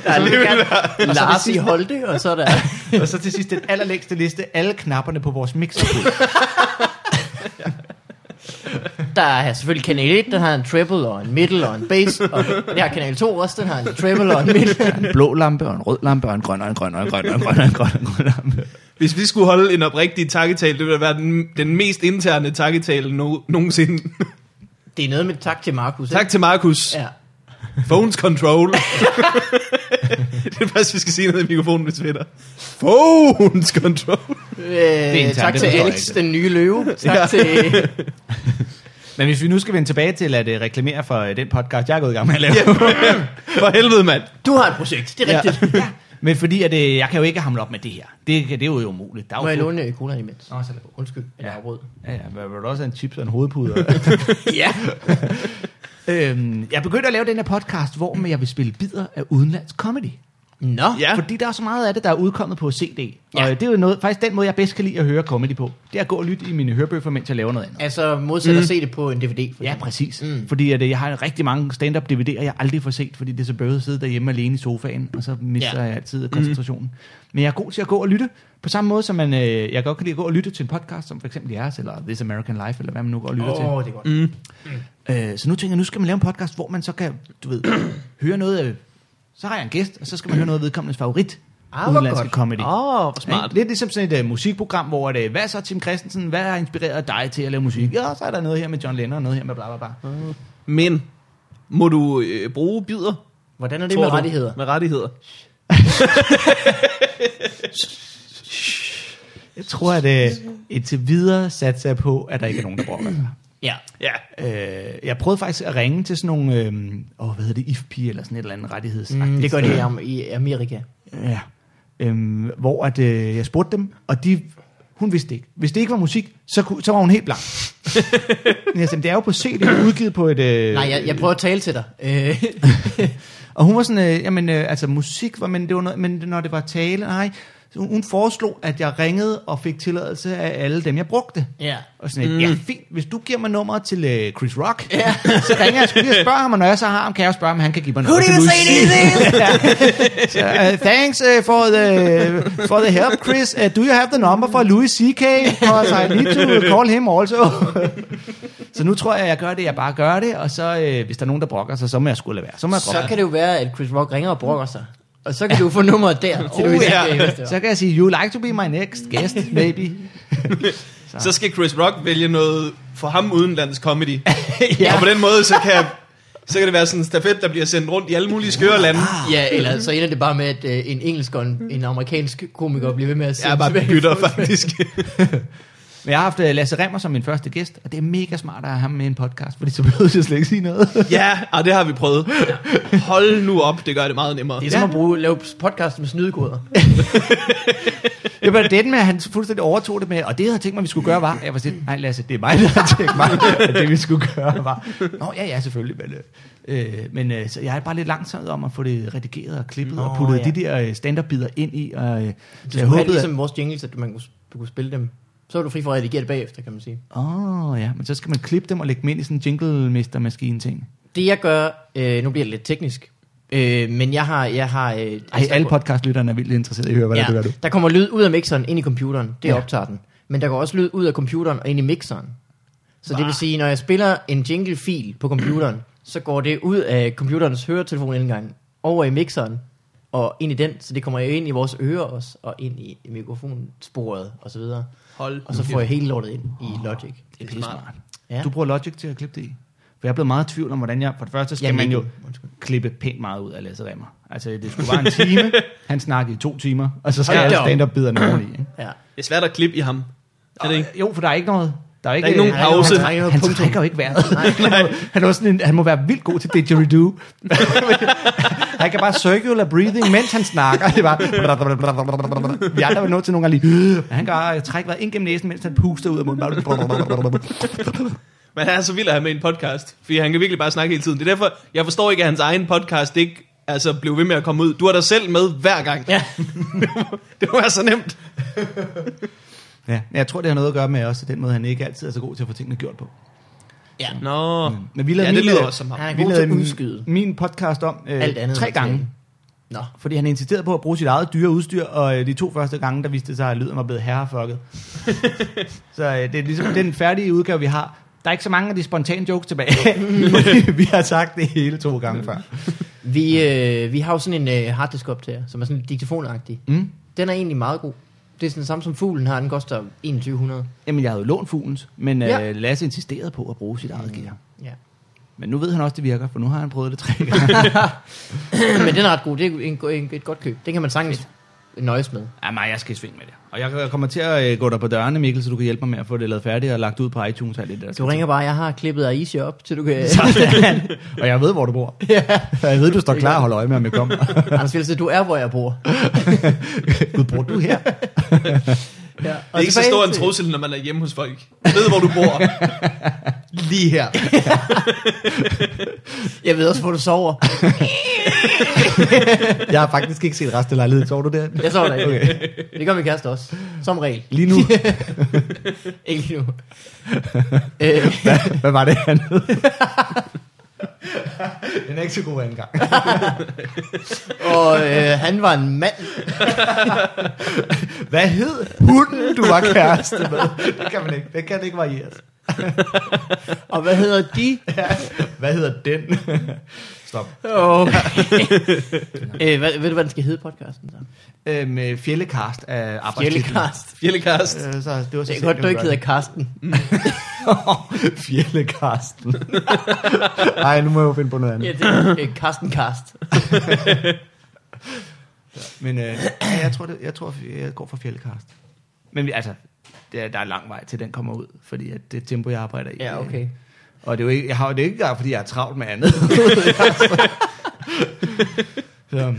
B: Der er lidt gerne Lars i Holte, og så er der...
A: og så til sidst den allerlængste liste, alle knapperne på vores mixerpult.
B: Der er selvfølgelig kanal 1, den har en treble og en middle og en bass. Og det har kanal 2 også, den har en treble og en middle.
A: en blå lampe, og en rød lampe, og en grøn, og en grøn, og en grøn, og en grøn, og en grøn, og en grøn lampe.
C: hvis vi skulle holde en oprigtig takketal, det ville være den, den mest interne takketal no, nogensinde.
B: Det er noget med tak til Markus. ikke?
C: tak til Markus. Ja.
B: Ja.
C: Phones control. det er først, vi skal sige noget i mikrofonen, hvis vi er der. Phones control.
B: Øh,
A: internt,
B: tak
A: det forstår
B: til
A: jeg
B: Alex,
A: ikke.
B: den nye løve. Tak
C: Ja.
B: ja. til...
A: Men hvis vi nu skal vende tilbage til at øh, reklamere for øh, den podcast, jeg er gået i gang med at lave.
C: For helvede, mand.
B: Du har et projekt, det er rigtigt. Ja.
A: ja. Men fordi at, øh, jeg kan jo ikke hamle op med det her. Det, kan- det er jo umuligt. Der er jo
B: Må jeg
A: fuld-
B: låne øh, cola imens?
A: Nå, så lad være.
B: Undskyld, at jeg
A: Ja.
B: afbrød.
A: Ja, ja, men vil du også have en chips og en hovedpude?
B: Ja.
A: øhm, jeg begyndte at lave den her podcast, hvor jeg vil spille bidder af udenlandsk comedy.
B: Nå.
C: Ja.
A: Fordi der er så meget af det, der er udkommet på CD. Ja.
B: Ja.
A: Og øh, det er jo noget, faktisk den måde, jeg bedst kan lide at høre comedy på. Det er at gå og lytte i mine hørebøffer, mens jeg laver noget andet.
B: Altså modsat
A: Mm.
B: at se det på en DVD. For
A: Ja,
B: eksempel.
A: præcis. Mm. Fordi at, øh, jeg har rigtig mange stand-up DVD'er, jeg aldrig får set, fordi det er så bøvet at sidde derhjemme alene i sofaen, og så mister
B: Ja. Mm.
A: ja. jeg altid koncentrationen. Men jeg er god til at gå og lytte, på samme måde som man, øh, jeg godt kan lide at gå og lytte til en podcast, som for eksempel jeres, eller This American Life, eller hvad man nu går og lytter til.
B: Åh, oh, det er godt. Mm.
A: Øh, så nu tænker jeg, nu skal man lave en podcast, hvor man så kan, du ved, høre noget af, så har jeg en gæst, og så skal man høre noget af vedkommendes favorit.
B: Ah, hvor
A: udenlandske
B: godt.
A: comedy.
B: Åh, oh,
A: Smart. Lidt ligesom sådan et uh, musikprogram, hvor det, hvad så Tim Christensen, hvad har inspireret dig til at lave musik? Ja, så er der noget her med John Lennon, og noget her med bla bla bla.
C: Men, må du øh, bruge bider?
B: Hvordan er det
C: tror
B: med
C: du?
B: rettigheder?
C: Med rettigheder.
A: Jeg tror, at øh, indtil videre satser jeg på, at der ikke er nogen, der brokker sig.
B: Ja.
C: Ja.
A: Øh, jeg prøvede faktisk at ringe til sådan nogle, øh, åh, hvad hedder det, IFP eller sådan et eller andet rettigheds.
B: Mm, det gør de i, Am- i Amerika.
A: Ja. Øhm, hvor at, øh, jeg spurgte dem, og de, hun vidste det ikke. Hvis det ikke var musik, så, kunne, så var hun helt blank. Men jeg sagde, det er jo på CD, udgivet på et... Øh,
B: Nej, jeg, jeg prøver at tale til dig. Øh,
A: Og hun var sådan, øh, jamen, øh, altså musik, var, men, det var noget, men når det var tale, nej. Så hun, hun foreslog, at jeg ringede og fik tilladelse af alle dem, jeg brugte.
B: ja.
A: Og sådan, mm. ja fint, hvis du giver mig nummeret til øh, Chris Rock, ja. så ringer jeg sgu lige og spørger ham, og når jeg så har ham, kan jeg jo spørge, om han kan give mig noget til musik. Uh, thanks uh, for the for the help, Chris. Uh, do you have the number for Louis C.K.? Because I need to call him also. så nu tror jeg, jeg gør det. Jeg bare gør det, og så uh, hvis der er nogen, der brokker sig, så må jeg skulle lade være. Så må jeg
B: Så
A: brokke.
B: kan det jo være, at Chris Rock ringer og brokker sig. Og så kan du få nummeret der. Til oh, du
C: ja.
B: ja.
A: mig. Så kan jeg sige, you like to be my next guest, maybe.
C: Så skal Chris Rock vælge noget for ham udenlands comedy. ja.
B: Ja.
C: Og på den måde, så kan, så kan det være sådan en stafet, der bliver sendt rundt i alle mulige skøre lande.
B: Ah. ja, eller så ender det bare med, at øh, en engelsk og en, en amerikansk komiker bliver ved med at
C: Jeg er
B: sende
C: bare
B: tilbage.
C: bytter, faktisk.
A: Men jeg har haft øh, Lasse Remmer som min første gæst, og det er mega smart at have ham med i en podcast, fordi så behøver jeg slet ikke sige noget.
C: ja, og det har vi prøvet. Hold nu op, det gør det meget nemmere.
B: Det er som at bruge, lave podcast med snydekoder.
A: Det var det med, at han fuldstændig overtog det med, og det jeg havde tænkt mig, vi skulle gøre, var, jeg var sådan, nej Lasse, det er mig, der har tænkt mig, at det vi skulle gøre var, nå ja, ja, selvfølgelig, men, øh, øh, men øh, så jeg er bare lidt langsomt om at få det redigeret og klippet, nå, og puttet ja.
B: ja.
A: de der øh, stand-up-bider ind i, og øh, så
B: Du
A: jeg
B: skulle have
A: håbede,
B: det
A: ligesom...
B: ligesom vores jingles, at du, man kunne, du kunne spille dem. Så er du fri for at redigere det bagefter, kan man sige.
A: åh oh, ja, men så skal man klippe dem og lægge dem ind i sådan en jingle-mester-maskine-ting.
B: Det jeg gør, øh, nu bliver det lidt teknisk, øh, men jeg har... Jeg har øh,
A: Ej,
B: altså, der
A: alle
B: går-
A: podcastlytterne er vildt interesserede i at høre, hvad ja. der gør du.
B: Der kommer lyd ud af mixeren ind i computeren, det
A: Ja.
B: ja. optager den. Men der går også lyd ud af computeren og ind i mixeren. Så det vil sige, når jeg spiller en jingle-fil på computeren, så går det ud af computerens høretelefonindgang over i mixeren, og ind i den, så det kommer jo ind i vores ører også, og ind i mikrofonsporet og så videre.
C: Hold
B: Og så
C: nu
B: får jeg
C: kæft.
B: hele lortet ind i Logic.
A: Det er pissmart.
B: Ja.
A: Du bruger Logic til at klippe det i. For jeg er blevet meget i tvivl om, hvordan jeg... For det første skal
B: Jamen,
A: Jamen, man jo
B: ikke- undskyld.
A: klippe pænt meget ud af Lasse Remmer. Altså, det skulle være en time. Han snakkede i to timer, og så skal
B: Hold
A: jeg
B: da
A: alle
B: op.
A: stand-up-biderne oveni. Ikke?
B: Ja.
C: Det er svært at klippe i ham. Er det ikke?
A: Jo, for der er ikke noget... Der er ikke,
C: ikke nogen
A: han-
C: pause.
A: Han,
B: Der er
A: trækker,
B: ikke noget
A: han
B: punktum.
A: trækker jo ikke vejret. Han, er jo- han, er jo sådan en, han må være vildt god til didgeridoo. han kan bare circular breathing, mens han snakker. Det er bare... Vi andre var nået til nogle gange lige... Han kan bare trække vejret ind gennem næsen, mens han puster ud af munden.
C: Men han er så vild at have med i en podcast, fordi han kan virkelig bare snakke hele tiden. Det er derfor, jeg forstår ikke, at hans egen podcast ikke altså, blev ved med at komme ud. Du er dig selv med hver gang.
B: Ja.
C: det var så nemt.
A: Ja, men jeg tror, det har noget at gøre med også den måde, han ikke altid er så god til at få tingene gjort på.
B: ja.
C: Nå,
A: Men vi lavede
C: ja, det
A: min,
C: lyder
A: øh,
C: også som ham.
B: Han er
A: Vi
B: god til at
A: min-
B: udskyde.
A: min podcast om øh,
B: Alt andet
A: tre
B: end at
A: gange,
B: tale. Nå.
A: fordi han insisterede på at bruge sit eget dyre udstyr, og øh, de to første gange, der viste det sig, at lyden var blevet herrefucket. så øh, det er ligesom den færdige udgave, vi har. Der er ikke så mange af de spontane jokes tilbage. vi har sagt det hele to gange før.
B: Vi, øh, vi har jo sådan en øh, harddisk op til jer, som er sådan lidt diktafonagtig.
A: Mm.
B: Den er egentlig meget god. Det er sådan samme som fuglen har, den koster 2100.
A: Jamen, jeg havde jo lånt fuglens, men øh,
B: Ja.
A: Lasse insisterede på at bruge sit eget gear.
B: Ja.
A: Men nu ved han også, det virker, for nu har han prøvet det tre gange.
B: Men den er ret god, det er en, en, et godt køb. Den kan man sagtens nøjes med.
A: Jamen, jeg skal i sving med det. Og jeg kommer til at øh, gå dig på dørene, Mikkel, så du kan hjælpe mig med at få det lavet færdigt og lagt ud på iTunes og alt det der.
B: Du ringer bare, jeg har klippet af Easy op, til du kan...
A: og jeg ved, hvor du bor. Ja. Jeg ved, du står klar og holder øje med, om jeg kommer.
B: Anders Fjellsted, du er, hvor jeg bor.
A: Gud, bor du her?
B: Ja.
C: Det er ikke så stor en trussel, når man er hjemme hos folk. Jeg ved, hvor du bor. Lige her.
B: Jeg ved også, hvor du sover.
A: Jeg har faktisk ikke set resten af lejligheden. Sover du der?
B: Jeg sover der ikke. Okay. Det gør min kæreste også. Som regel.
A: Lige nu,
B: Ikke lige nu. øh,
A: hvad var det andet? Den er ikke så god anden gang.
B: og øh, han var en mand.
A: Hvad hed hunden, du var kæreste med? Det kan man ikke. Det kan ikke varieres.
B: Og hvad hedder de?
A: Hvad hedder den? Stop.
B: Okay. øh, hvad, ved du, hvad den skal hedde podcasten så?
A: Øhm, Fjellekast af arbejdstitlen.
B: Fjellekast.
C: Fjellekast.
A: Øh, så det var så
B: Det er godt, du ikke hedder Karsten.
A: Fjellekasten. Nej, nu må jeg jo finde på noget andet.
B: Ja, det er øh, Karsten Karst.
A: Men øh, ja, jeg, tror, det, jeg tror, jeg går for fjellkast. Men vi- altså, der, der er lang vej til, den kommer ud, fordi at det tempo, jeg arbejder i.
B: Ja,
A: øh,
B: okay.
A: Og det er jo ikke, jeg har jo det er ikke engang, fordi jeg er travlt med andet. så, så,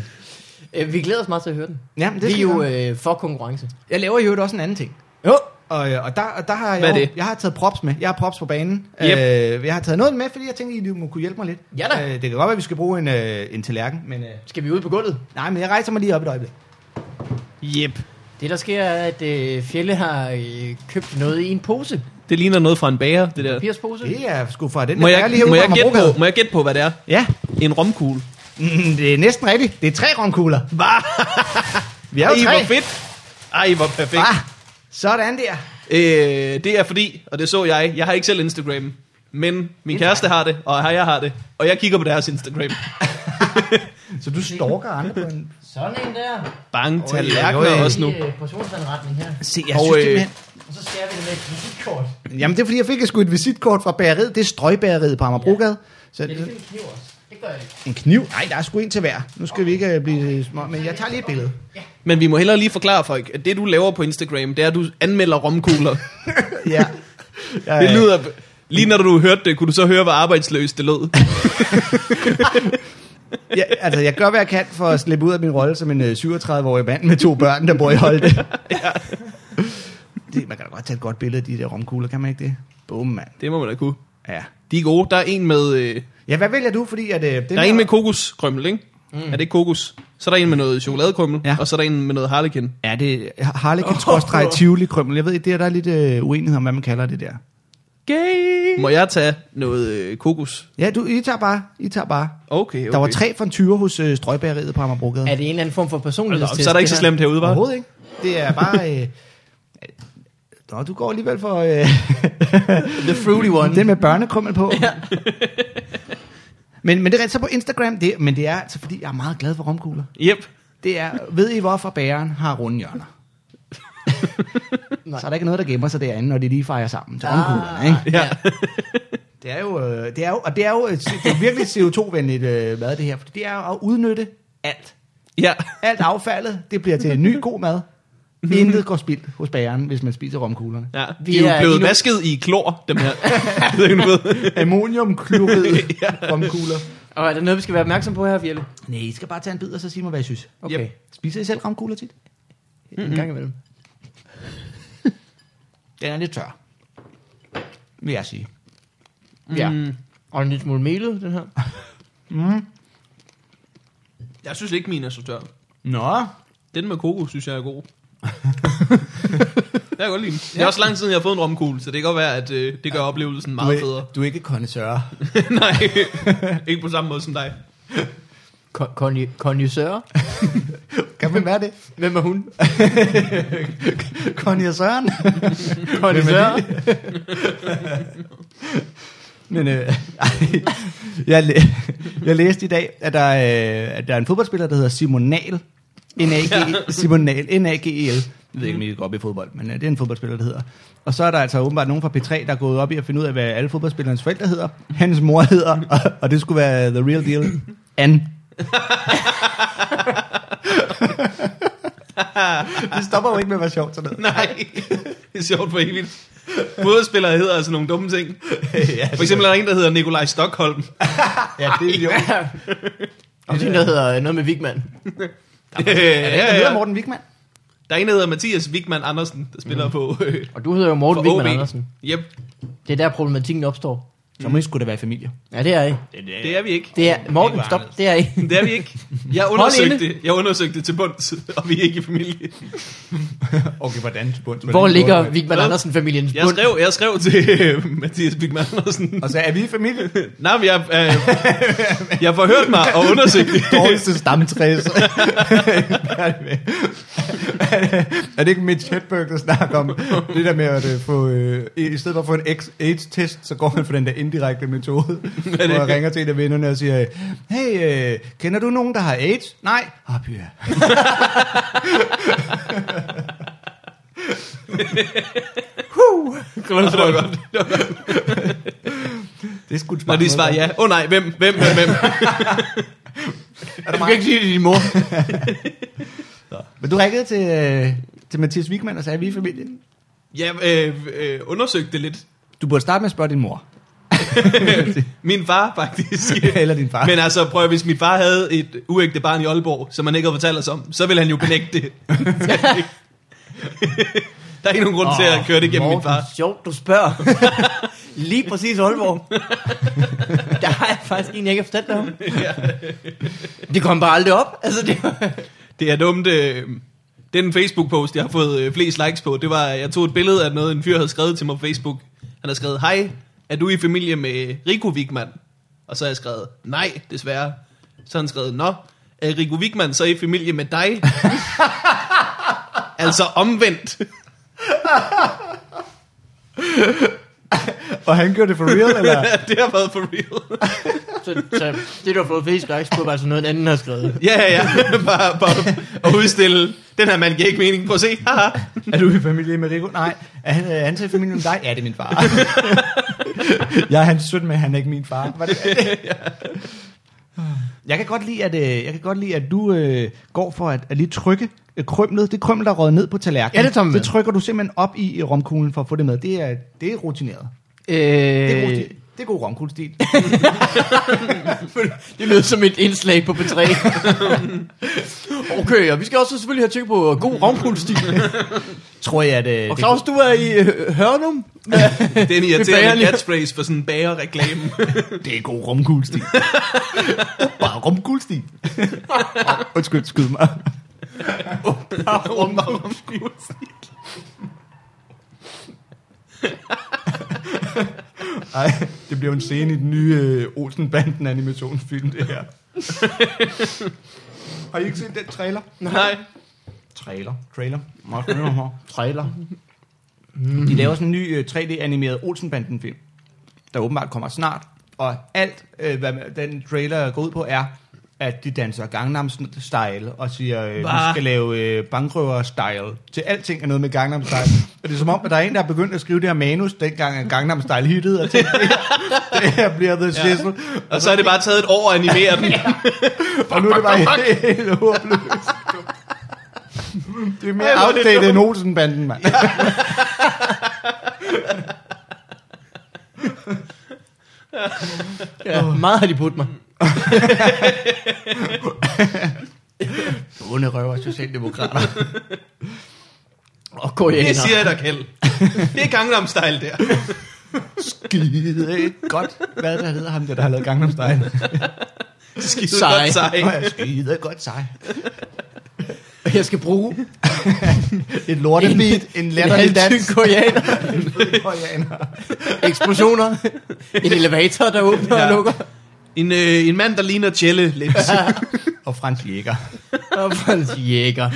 B: Øh, vi glæder os meget til at høre den.
A: ja, men det
B: Vi
A: skal
B: er jo
A: jeg.
B: øh, for konkurrence.
A: Jeg laver jo også en anden ting.
B: Jo.
A: Og, øh, og, der, og der har
C: Hvad er
A: jeg, jo-
C: det?
A: jeg har taget props med. Jeg har props på banen.
C: Yep.
A: Øh, jeg har taget noget med, fordi jeg tænkte, I må kunne hjælpe mig lidt.
B: Ja da.
A: Øh, det kan godt være, at vi skal bruge en, øh, en tallerken, men... Øh,
B: Skal vi ud på gulvet?
A: nej, men jeg rejser mig lige op et øjeblik.
C: Yep.
B: Det, der sker, er, at øh, Fjelle har øh, købt noget i en pose.
C: Det ligner noget fra en bager, det der.
B: Piers pose.
A: Det er sgu fra den
C: Må
A: der
C: jeg,
A: lige
C: må jeg, gætte, på, må jeg gætte på, hvad det er?
A: Ja,
C: En romkugle.
A: Mm, det er næsten rigtigt. Det er tre romkugler.
C: Hvad?
A: Vi er jo
C: Ej,
A: tre.
C: hvor fedt. Ej, hvor perfekt.
A: Ah, sådan der.
C: Øh, det er fordi, og det så jeg, jeg har ikke selv Instagram, men min kæreste har det, og jeg har det, og jeg kigger på deres Instagram.
A: Så du stalker andre på en...
B: Sådan en der.
C: Bang,
A: oj,
C: tallerkener
A: oj.
C: også nu.
B: I øh, portionsanretning her.
A: Se, jeg
C: Og,
A: synes
C: øh,
A: simpelthen...
B: Og så skærer vi det med et kreditkort.
A: Jamen, det er fordi, jeg fik sgu et visitkort fra bageriet. Det er strøgbageriet på Amagerbrogade. Så
B: Ja, det kan vi knive os. Det gør jeg ikke.
A: en kniv. Nej, der er sgu en til hver. Nu skal vi ikke øh, blive små, men jeg tager lige et billede.
C: Men vi må hellere lige forklare folk, at det du laver på Instagram, det er, at du anmelder romkugler.
A: Ja.
C: Det lyder... Lige når du hørte det, kunne du så høre, hvor arbejdsløst det lød.
A: Ja, altså, jeg gør, hvad jeg kan for at slippe ud af min rolle som en øh, 37-årig mand med to børn, der bor i Holte. det, man kan da godt tage et godt billede af de der romkugler, kan man ikke det? Bum, mand.
C: Det må man da kunne.
A: Ja.
C: De er gode. Der er en med, øh,
A: Ja, hvad vælger du? Fordi at, øh, den
C: der er en med kokoskrømmel, ikke? Mm. Er det ikke kokos? Så er der en med noget chokoladekrømmel,
A: Ja.
C: ja. og så er der en med noget harlekin.
A: Ja, det er Harlekin skråstreg Tivoli Krømmel. Jeg ved, det er, der er lidt øh, uenighed om, hvad man kalder det der.
C: Gay. Må jeg tage noget øh, kokos?
A: Ja, du, I tager bare. I tager bare.
C: Okay, okay.
A: Okay. Der var tre fra en tyre hos øh, Strøgbæreriet på Amagerbrogade.
B: Er det en eller anden form for
C: Hold
B: personlighedstest?
C: op, Så er der ikke så
B: det her?
C: slemt herude, var?
A: Overhovedet ikke. Det er bare... Øh, Nå, du går alligevel for øh,
B: The fruity one.
A: den med børnekrummel på. Ja. altså, men, men det er rigtigt, så på Instagram, det, men det er altså, fordi jeg er meget glad for romkugler.
C: Yep.
A: det er, ved I hvorfor bæren har runde hjørner?
B: Nej.
A: så er der ikke noget, der gemmer sig derinde, når de lige fejrer sammen til
B: Ah.
A: omkuglerne, ikke?
C: Ja.
A: Det er jo, øh, det er jo, og det er jo øh, det er virkelig CO2-venligt øh, mad, det her. Fordi det er at udnytte alt.
C: ja.
A: Alt affaldet, det bliver til en ny god mad. Intet går spildt hos bageren, hvis man spiser romkuglerne.
C: ja.
B: Vi
C: Vi er
B: er
C: jo blevet
B: endnu-
C: vasket i klor, dem her. Det ved jeg ikke, du ved.
A: Ammoniumklorid romkugler.
B: Og er der noget, vi skal være opmærksom på her, Fjelle?
A: Nej, I skal bare tage en bid, og så sige mig, hvad I synes.
B: Okay.
C: Yep.
A: Spiser I selv romkugler tit?
B: En gang imellem.
A: Den er lidt tør, vil jeg sige. Mm.
B: Ja. Og en lille smule melet, den her.
C: Jeg synes ikke, min er så tør.
A: Nå,
C: Den med koko, synes jeg er god. jeg kan godt lide den. Det er også lang tid, siden, jeg har fået en romkugle, så det kan godt være, at øh, det gør oplevelsen
A: du
C: meget
A: er,
C: federe.
A: du er ikke kondensør.
C: Nej, ikke på samme måde som dig.
B: Kon- kon- Konjusør.
A: Kan man være det?
B: Hvem er hun?
A: Conny og Søren.
B: Konjusør.
A: Men øh, ej, jeg, læ- jeg læste i dag, at der, øh, at der er en fodboldspiller, der hedder Simon Nahl. N-A-G, E. Simon Nahl, N-A-G-E-L. E Jeg ved ikke, om I går op i fodbold, men øh, det er en fodboldspiller, der hedder. Og så er der altså åbenbart nogen fra P3, der er gået op i at finde ud af, hvad alle fodboldspillerens forældre hedder. Hans mor hedder, og, og det skulle være the real deal, Anne. det stopper jo ikke med at være sjovt sådan noget.
C: Nej, det er sjovt for evigt. Modspillere hedder altså nogle dumme ting. For eksempel er der en, der hedder Nikolaj Stockholm.
A: Ja, det er jo.
B: Og det er en, der hedder noget med Vigman.
C: Ja,
A: Ja,
C: ja,
A: hedder
C: ja.
A: Morten Wigman.
C: Der er en, der hedder Mathias Wigman Andersen, der spiller på, øh,
B: Og du hedder jo Morten
C: på OB.
B: Vigman Andersen.
C: Yep,
B: Det er der problematikken opstår.
A: Så må I sgu da være familie.
B: Ja, det er I.
C: det er vi ikke.
B: Det er, Morten, stop, det er I.
C: Det er vi ikke. Jeg
B: inde.
C: undersøgte, det. jeg undersøgte det til bunds, og vi er ikke i familie.
A: Okay, hvordan til bunds?
B: Hvor ligger Vigman Andersen-familiens
C: Jeg
B: bund?
C: skrev, jeg skrev til øh, Mathias Wigman Andersen.
A: Og så er vi i familie.
C: Nej, men jeg, øh, jeg forhørte mig og undersøgte det.
A: Dårligste stamtræ. så- Hvad er det med? er det ikke Mitch Hedberg, der snakker om det der med at øh, få, øh, i i stedet for at få en ex- AIDS-test, så går man for den der indirekte metode, hvor jeg ringer til en af vennerne og siger, hey, øh, kender du nogen, der har AIDS? Nej. Ah, pyha.
C: Det var godt. Det var godt.
A: Det er sgu et
C: Når
A: smart
C: de
A: måde,
C: svarer
A: der.
C: ja. Åh oh, nej, hvem, hvem, hvem, hvem?
A: Er
B: Du
A: der
B: kan
A: mig?
B: ikke sige det til din mor.
A: Men du ringede til, øh, til Mathias Wigman og sagde, vi er i familie.
C: Jeg øh, øh, undersøgte det lidt.
A: Du burde starte med at spørge din mor.
C: Min far, faktisk.
A: Eller din far.
C: Men altså, prøv at, hvis min far havde et uægte barn i Aalborg, som han ikke havde fortalt os om, så ville han jo benægte det. Der er ikke nogen grund til at køre det igennem min far.
B: sjovt, du spørger. Lige præcis Aalborg. Der har jeg faktisk en, jeg ikke har forstået om. Det kom bare aldrig op. Altså, det var...
C: Det er dumt. Øh, den Facebook-post, jeg har fået øh, flest likes på, det var, at jeg tog et billede af noget, en fyr havde skrevet til mig på Facebook. Han har skrevet, hej, er du i familie med Rico Wigman? Og så har jeg skrevet, nej, desværre. Så har han skrevet, nå, er Rico Wigman så i familie med dig? altså omvendt.
A: Og han gjorde det for real, eller?
C: det har været for real.
B: Så, så det, du har fået flest likes på, var altså noget, en anden har skrevet.
C: ja, ja, ja. bare, bare at udstille. Den her mand giver ikke mening. Prøv at se. Haha.
A: Er du i familie med Rico? Nej. Er han, er han til familie med dig? Ja, det er min far. jeg er hans søn, men han er ikke min far. Var det, jeg kan godt lide, at, øh, jeg kan godt lide, at du øh, går for at, at lige trykke øh, krymlet. Det krymmel, der er røget ned på tallerkenen.
B: Ja, det tager man
A: det
B: med.
A: trykker du simpelthen op i, i romkuglen for at få det med. Det er, det er rutineret.
B: Øh,
A: Det er, god stil. det er god romkuglestil.
B: det lød som et indslag på B3. okay, og vi skal også selvfølgelig have tjekket på god romkulstil.
A: Tror jeg, at... Øh,
B: Og
A: det-
B: Claus, du er i øh, Hørnum.
C: Det er en
B: bageren,
C: irriterende
B: ja.
C: catchphrase for sådan en bagerreklame.
A: Det er god romkuglestil. Bare romkuglestil. Undskyld, skyd mig. Ej, det bliver jo en scene i den nye øh, Olsenbanden animationsfilm, det her. Har I ikke set den trailer?
C: Nej.
A: Trailer. Trailer. Meget spændende her.
B: Trailer.
A: De laver sådan en ny øh, 3D-animeret Olsenbanden-film, der åbenbart kommer snart. Og alt, øh, hvad den trailer går ud på, er, at de danser Gangnam Style og siger, øh, vi
C: Hva?
A: skal lave øh, bankrøver style. Til alting er noget med Gangnam Style. og det er som om, at der er en, der har begyndt at skrive det her manus, dengang at Gangnam Style hittede, og tænkte, det her, det her bliver the shizzle. Ja.
C: Og så er det bare taget et år at animere den.
A: Og nu er det bare helt håbløst. Det er mere
C: Ej, hvor er det
A: outdated
C: dumt.
A: end Olsenbanden, mand.
B: Ja. Meget har de budt mig.
A: Bunde røver, socialdemokrater.
B: Og gå
C: Det siger jeg dig, Kjeld. Det er Gangnam Style der.
A: Skide godt. Hvad der hedder ham, der, der har lavet Gangnam Style?
C: Skide
B: Sej.
C: godt sej.
A: Nå ja, skide godt sej.
B: Jeg skal bruge
A: Et lortebeat, en latterlig
B: en
A: dans.
B: tyk koreaner.
A: koreaner.
B: Eksplosioner. en elevator, der åbner ja.
C: Ja.
B: og lukker.
C: En, øh, en mand, der ligner Jelle lidt.
A: Og Frans Jæger.
B: Og Frans Jæger.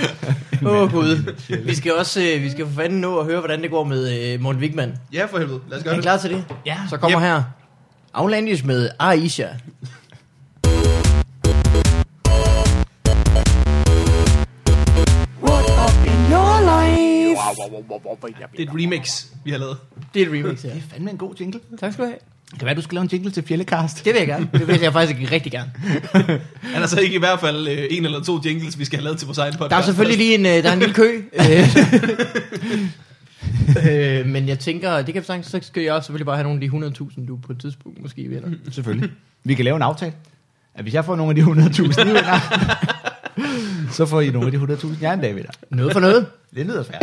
B: Åh oh, gud. Vi skal også øh, vi skal for fanden nå at høre, hvordan det går med øh, Morten Wigman.
C: Ja, for helvede. Lad
B: Er
C: os gøre
B: I
C: det.
B: klar til det? Ja. Så kommer her. Outlandish med Aisha.
E: What up in your life?
C: Det er et remix, vi har lavet.
B: Det er et remix, ja.
A: Det er fandme en god jingle.
B: Tak skal du have.
A: Det kan være, du skal lave en jingle til Fjellecast.
B: Det vil jeg gerne. Det vil jeg faktisk ikke rigtig gerne.
C: Han har så ikke i hvert fald øh, en eller to jingles, vi skal have lavet til vores egen podcast.
B: Der er selvfølgelig lige en, øh, der er en lille kø. Øh, øh, men jeg tænker, det kan vi sagtens, så skal jeg også selvfølgelig bare have nogle af de 100.000, du på et tidspunkt måske vinder.
A: Selvfølgelig. Vi kan lave en aftale. At hvis jeg får nogle af de 100.000 I vinder, så får I nogle af de 100.000, jeg en dag vinder.
B: Noget for noget.
A: Det lyder svært.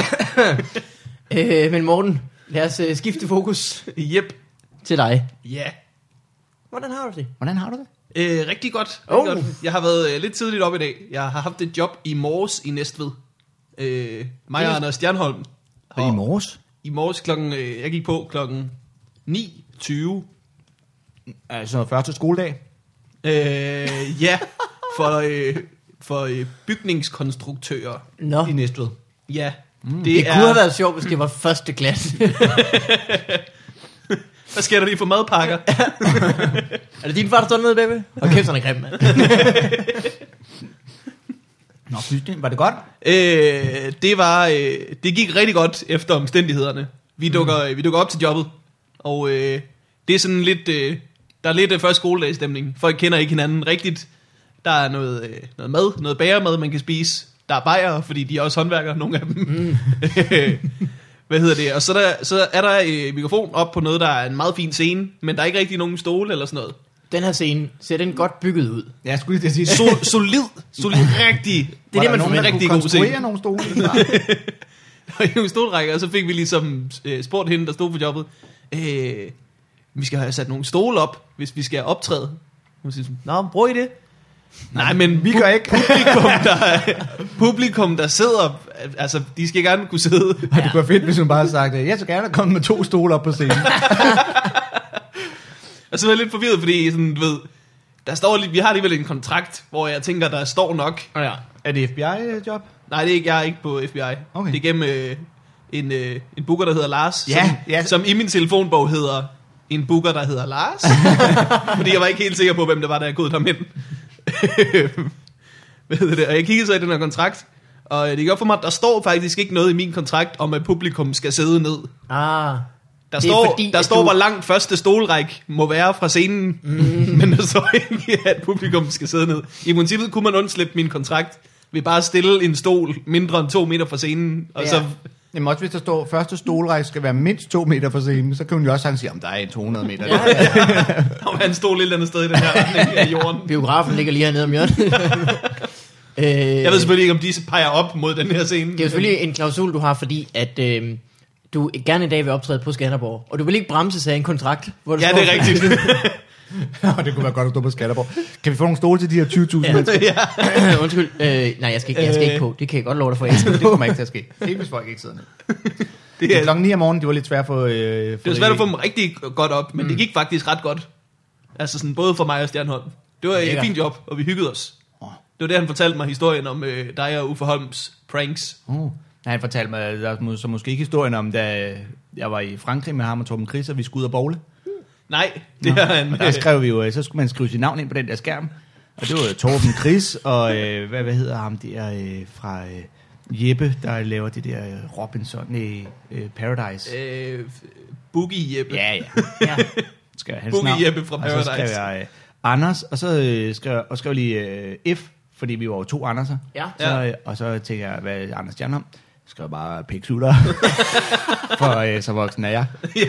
B: Øh, men Morten, lad os øh, skifte fokus
C: Yep.
B: til dig.
C: Ja.
B: Hvordan har du det?
A: Hvordan har du det?
C: Øh, rigtig godt. Rigtig
B: Oh.
C: godt. Jeg har været øh, lidt tidligt op i dag. Jeg har haft et job i morges i Næstved. Øh, mig og Anders Stjernholm.
A: Og i morges?
C: I morges klokken, øh, jeg gik på klokken 9.20.
A: Altså første skoledag.
C: Øh, ja, for, øh, for øh, bygningskonstruktører.
B: Nå,
A: I
B: det,
A: Næstved.
C: Ja, det,
B: det kunne have været sjovt, hvis det var første klasse.
C: Hvad sker der lige for madpakker?
B: er det din far, der står nede bagved? Og kæft, han er grim, mand.
A: Nå, synes det, var det godt?
C: øh, det var, øh, det gik rigtig godt efter omstændighederne. Vi dukker, mm. vi dukker op til jobbet, og øh, det er sådan lidt, øh, der er lidt øh, først skoledagsstemning. Folk kender ikke hinanden rigtigt. Der er noget, øh, noget mad, noget bagermad, man kan spise. Der er bajer, fordi de er også håndværkere, nogle af dem. Mm. Hvad hedder det? Og så, der, så er der øh, mikrofon op på noget, der er en meget fin scene, men der er ikke rigtig nogen stole eller sådan noget.
B: Den her scene, ser den godt bygget ud?
A: Ja, jeg skulle lige til at sige, det
C: So, solid, solid, rigtig.
B: det, man
A: nogen, der
B: forventer.
A: rigtig
C: Rigtig
A: kunne
C: god
A: konstruere
C: ting.
A: nogle stole. Eller?
C: og i nogle stolrækker, og så fik vi ligesom øh, spurgt hende, der stod på jobbet, øh, vi skal have sat nogle stole op, hvis vi skal optræde. Hun siger sådan, nå, bruger I det? Nej, men
A: Vi gør ikke.
C: publikum, der, publikum, der sidder, øh, altså, de skal gerne kunne sidde.
A: Ej, det kunne være fedt, hvis hun bare havde sagt, øh, jeg skal gerne komme med to stole op på scenen.
C: Og så er jeg lidt forvirret, fordi sådan, du ved, der står, lige- vi har alligevel en kontrakt, hvor jeg tænker, der står nok.
B: Ja.
A: Er det FBI-job?
C: Nej, det er ikke, jeg er ikke på FBI.
A: Okay.
C: Det er gennem øh, en, øh, en booker, der hedder Lars,
A: Ja,
C: som,
A: ja.
C: som i min telefonbog hedder en booker, der hedder Lars. Fordi jeg var ikke helt sikker på, hvem det var, der havde gået derhen. Hvad hedder det? Og jeg kiggede så i den her kontrakt, og øh, det gik op for mig, at der står faktisk ikke noget i min kontrakt om, at publikum skal sidde ned.
B: Ah,
C: Der
B: Det er
C: står,
B: fordi,
C: der
B: at
C: står
B: du-
C: hvor langt første stolræk må være fra scenen, mm. men der står ikke, at publikum skal sidde ned. I princippet kunne man undslippe min kontrakt ved bare at stille en stol mindre end to meter fra scenen, og
B: Ja.
C: ja. så...
A: Jamen også hvis der står, første stolrække skal være mindst to meter fra scenen, så kan hun jo også sagtens sige, om der er en 200 meter.
B: Ja,
A: Ja.
B: ja.
C: Om han stod et eller andet sted i den her retning af jorden.
B: biografen ligger lige hernede om hjørnet. øh,
C: Jeg ved selvfølgelig ikke, om de peger op mod den her scene.
B: Det er jo selvfølgelig en klausul, du har, fordi at øh, du gerne en dag vil optræde på Skanderborg, og du vil ikke bremses af en kontrakt. Hvor
C: Ja,
B: står-
C: det er rigtigt.
A: og det kunne være godt at stå på Skatterborg. Kan vi få nogle stole til de her 20.000 ja. mennesker?
C: ja.
B: Undskyld. Øh, nej, jeg skal, ikke, jeg skal ikke på. Det kan jeg godt love dig for, jeg skal
A: Det
B: på.
A: kommer ikke til at ske. Ikke hvis folk ikke sidder ned.
C: Det er,
A: Klokken 9 om morgenen, det var lidt svært for... Øh,
C: det var svært at få dem rigtig godt op, men mm. det gik faktisk ret godt. Altså sådan både for mig og Stjernholm. Det var et
B: Lækkert.
C: fint job, og vi hyggede os. Det var det, han fortalte mig historien om øh, dig og Uffe Holms pranks.
A: Uh. Nej, han fortalte mig der er må- så måske ikke historien om, da jeg var i Frankrig med ham og Torben Chris, og vi skulle ud og bowle.
C: Nej, det er han.
A: øh, Og der skrev vi jo, øh, så skulle man skrive sit navn ind på den der skærm. Og det var jo Torben Chris, og øh, hvad, hvad hedder ham der øh, fra øh, Jeppe, der laver det der øh, Robinson i øh, Paradise.
C: Øh, Boogie Jeppe.
A: Ja, ja. ja. Skal jeg hans
C: Boogie
A: navn.
C: Jeppe fra
A: Og så skrev
C: Paradise.
A: jeg øh, Anders, og så øh, skrev, og skrev lige øh, F, fordi vi var jo to Anderser.
B: Ja.
A: Så, øh, og så tænkte jeg, hvad er Anders Stjernholm? Jeg skrev bare piksutter, for øh, så voksen er jeg.
C: ja.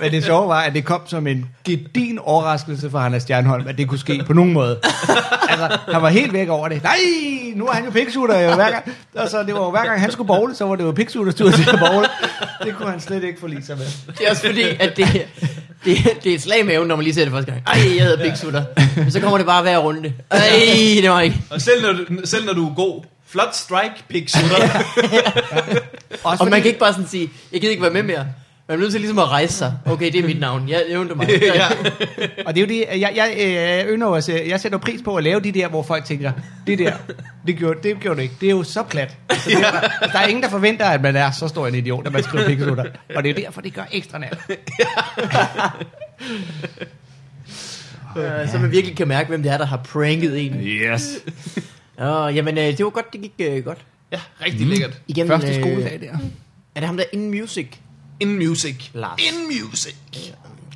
A: Men det sjove var, at det kom som en gedin overraskelse for Anders Stjernholm, at det kunne ske på nogen måde. altså, han var helt væk over det. Nej, nu er han jo piksutter jo hver gang. Og så det var jo hver gang han skulle bowle, så var det jo piksutters tur til at bowle. Det kunne han slet ikke forlige sig med.
B: Det er også fordi, at det, det, det er et slag i maven, når man lige ser det første gang. Ej, jeg hedder Big Sutter. Men så kommer det bare hver runde. Ej, det var ikke.
C: Og selv når, du, selv når du er god, flot strike, pik, sutter.
A: Også
B: Og man
A: fordi-
B: kan ikke bare sådan sige, jeg gider ikke være med mere. Man er nødt til ligesom at rejse sig. Okay, det er mit navn. Jeg nævnte mig.
C: ja.
A: Og det er jo det, jeg, jeg, øh, jeg ynder os, jeg sætter pris på at lave de der, hvor folk tænker, det der, det gjorde, det gjorde du ikke. Det er jo så plat. Så det er, bare- der er ingen, der forventer, at man er så stor en idiot, at man skriver pikkesutter. Og det er jo derfor, det gør ekstra nat.
B: Øh, Så man virkelig kan mærke, hvem det er, der har pranket en.
A: Yes.
B: Åh, jamen, øh, det var godt, det gik øh, godt.
C: ja, rigtig mm. lækkert.
B: Igennem,
A: Første
B: øh,
A: skoledag der.
B: Er det ham der in music?
C: In music.
B: Lars.
C: In music.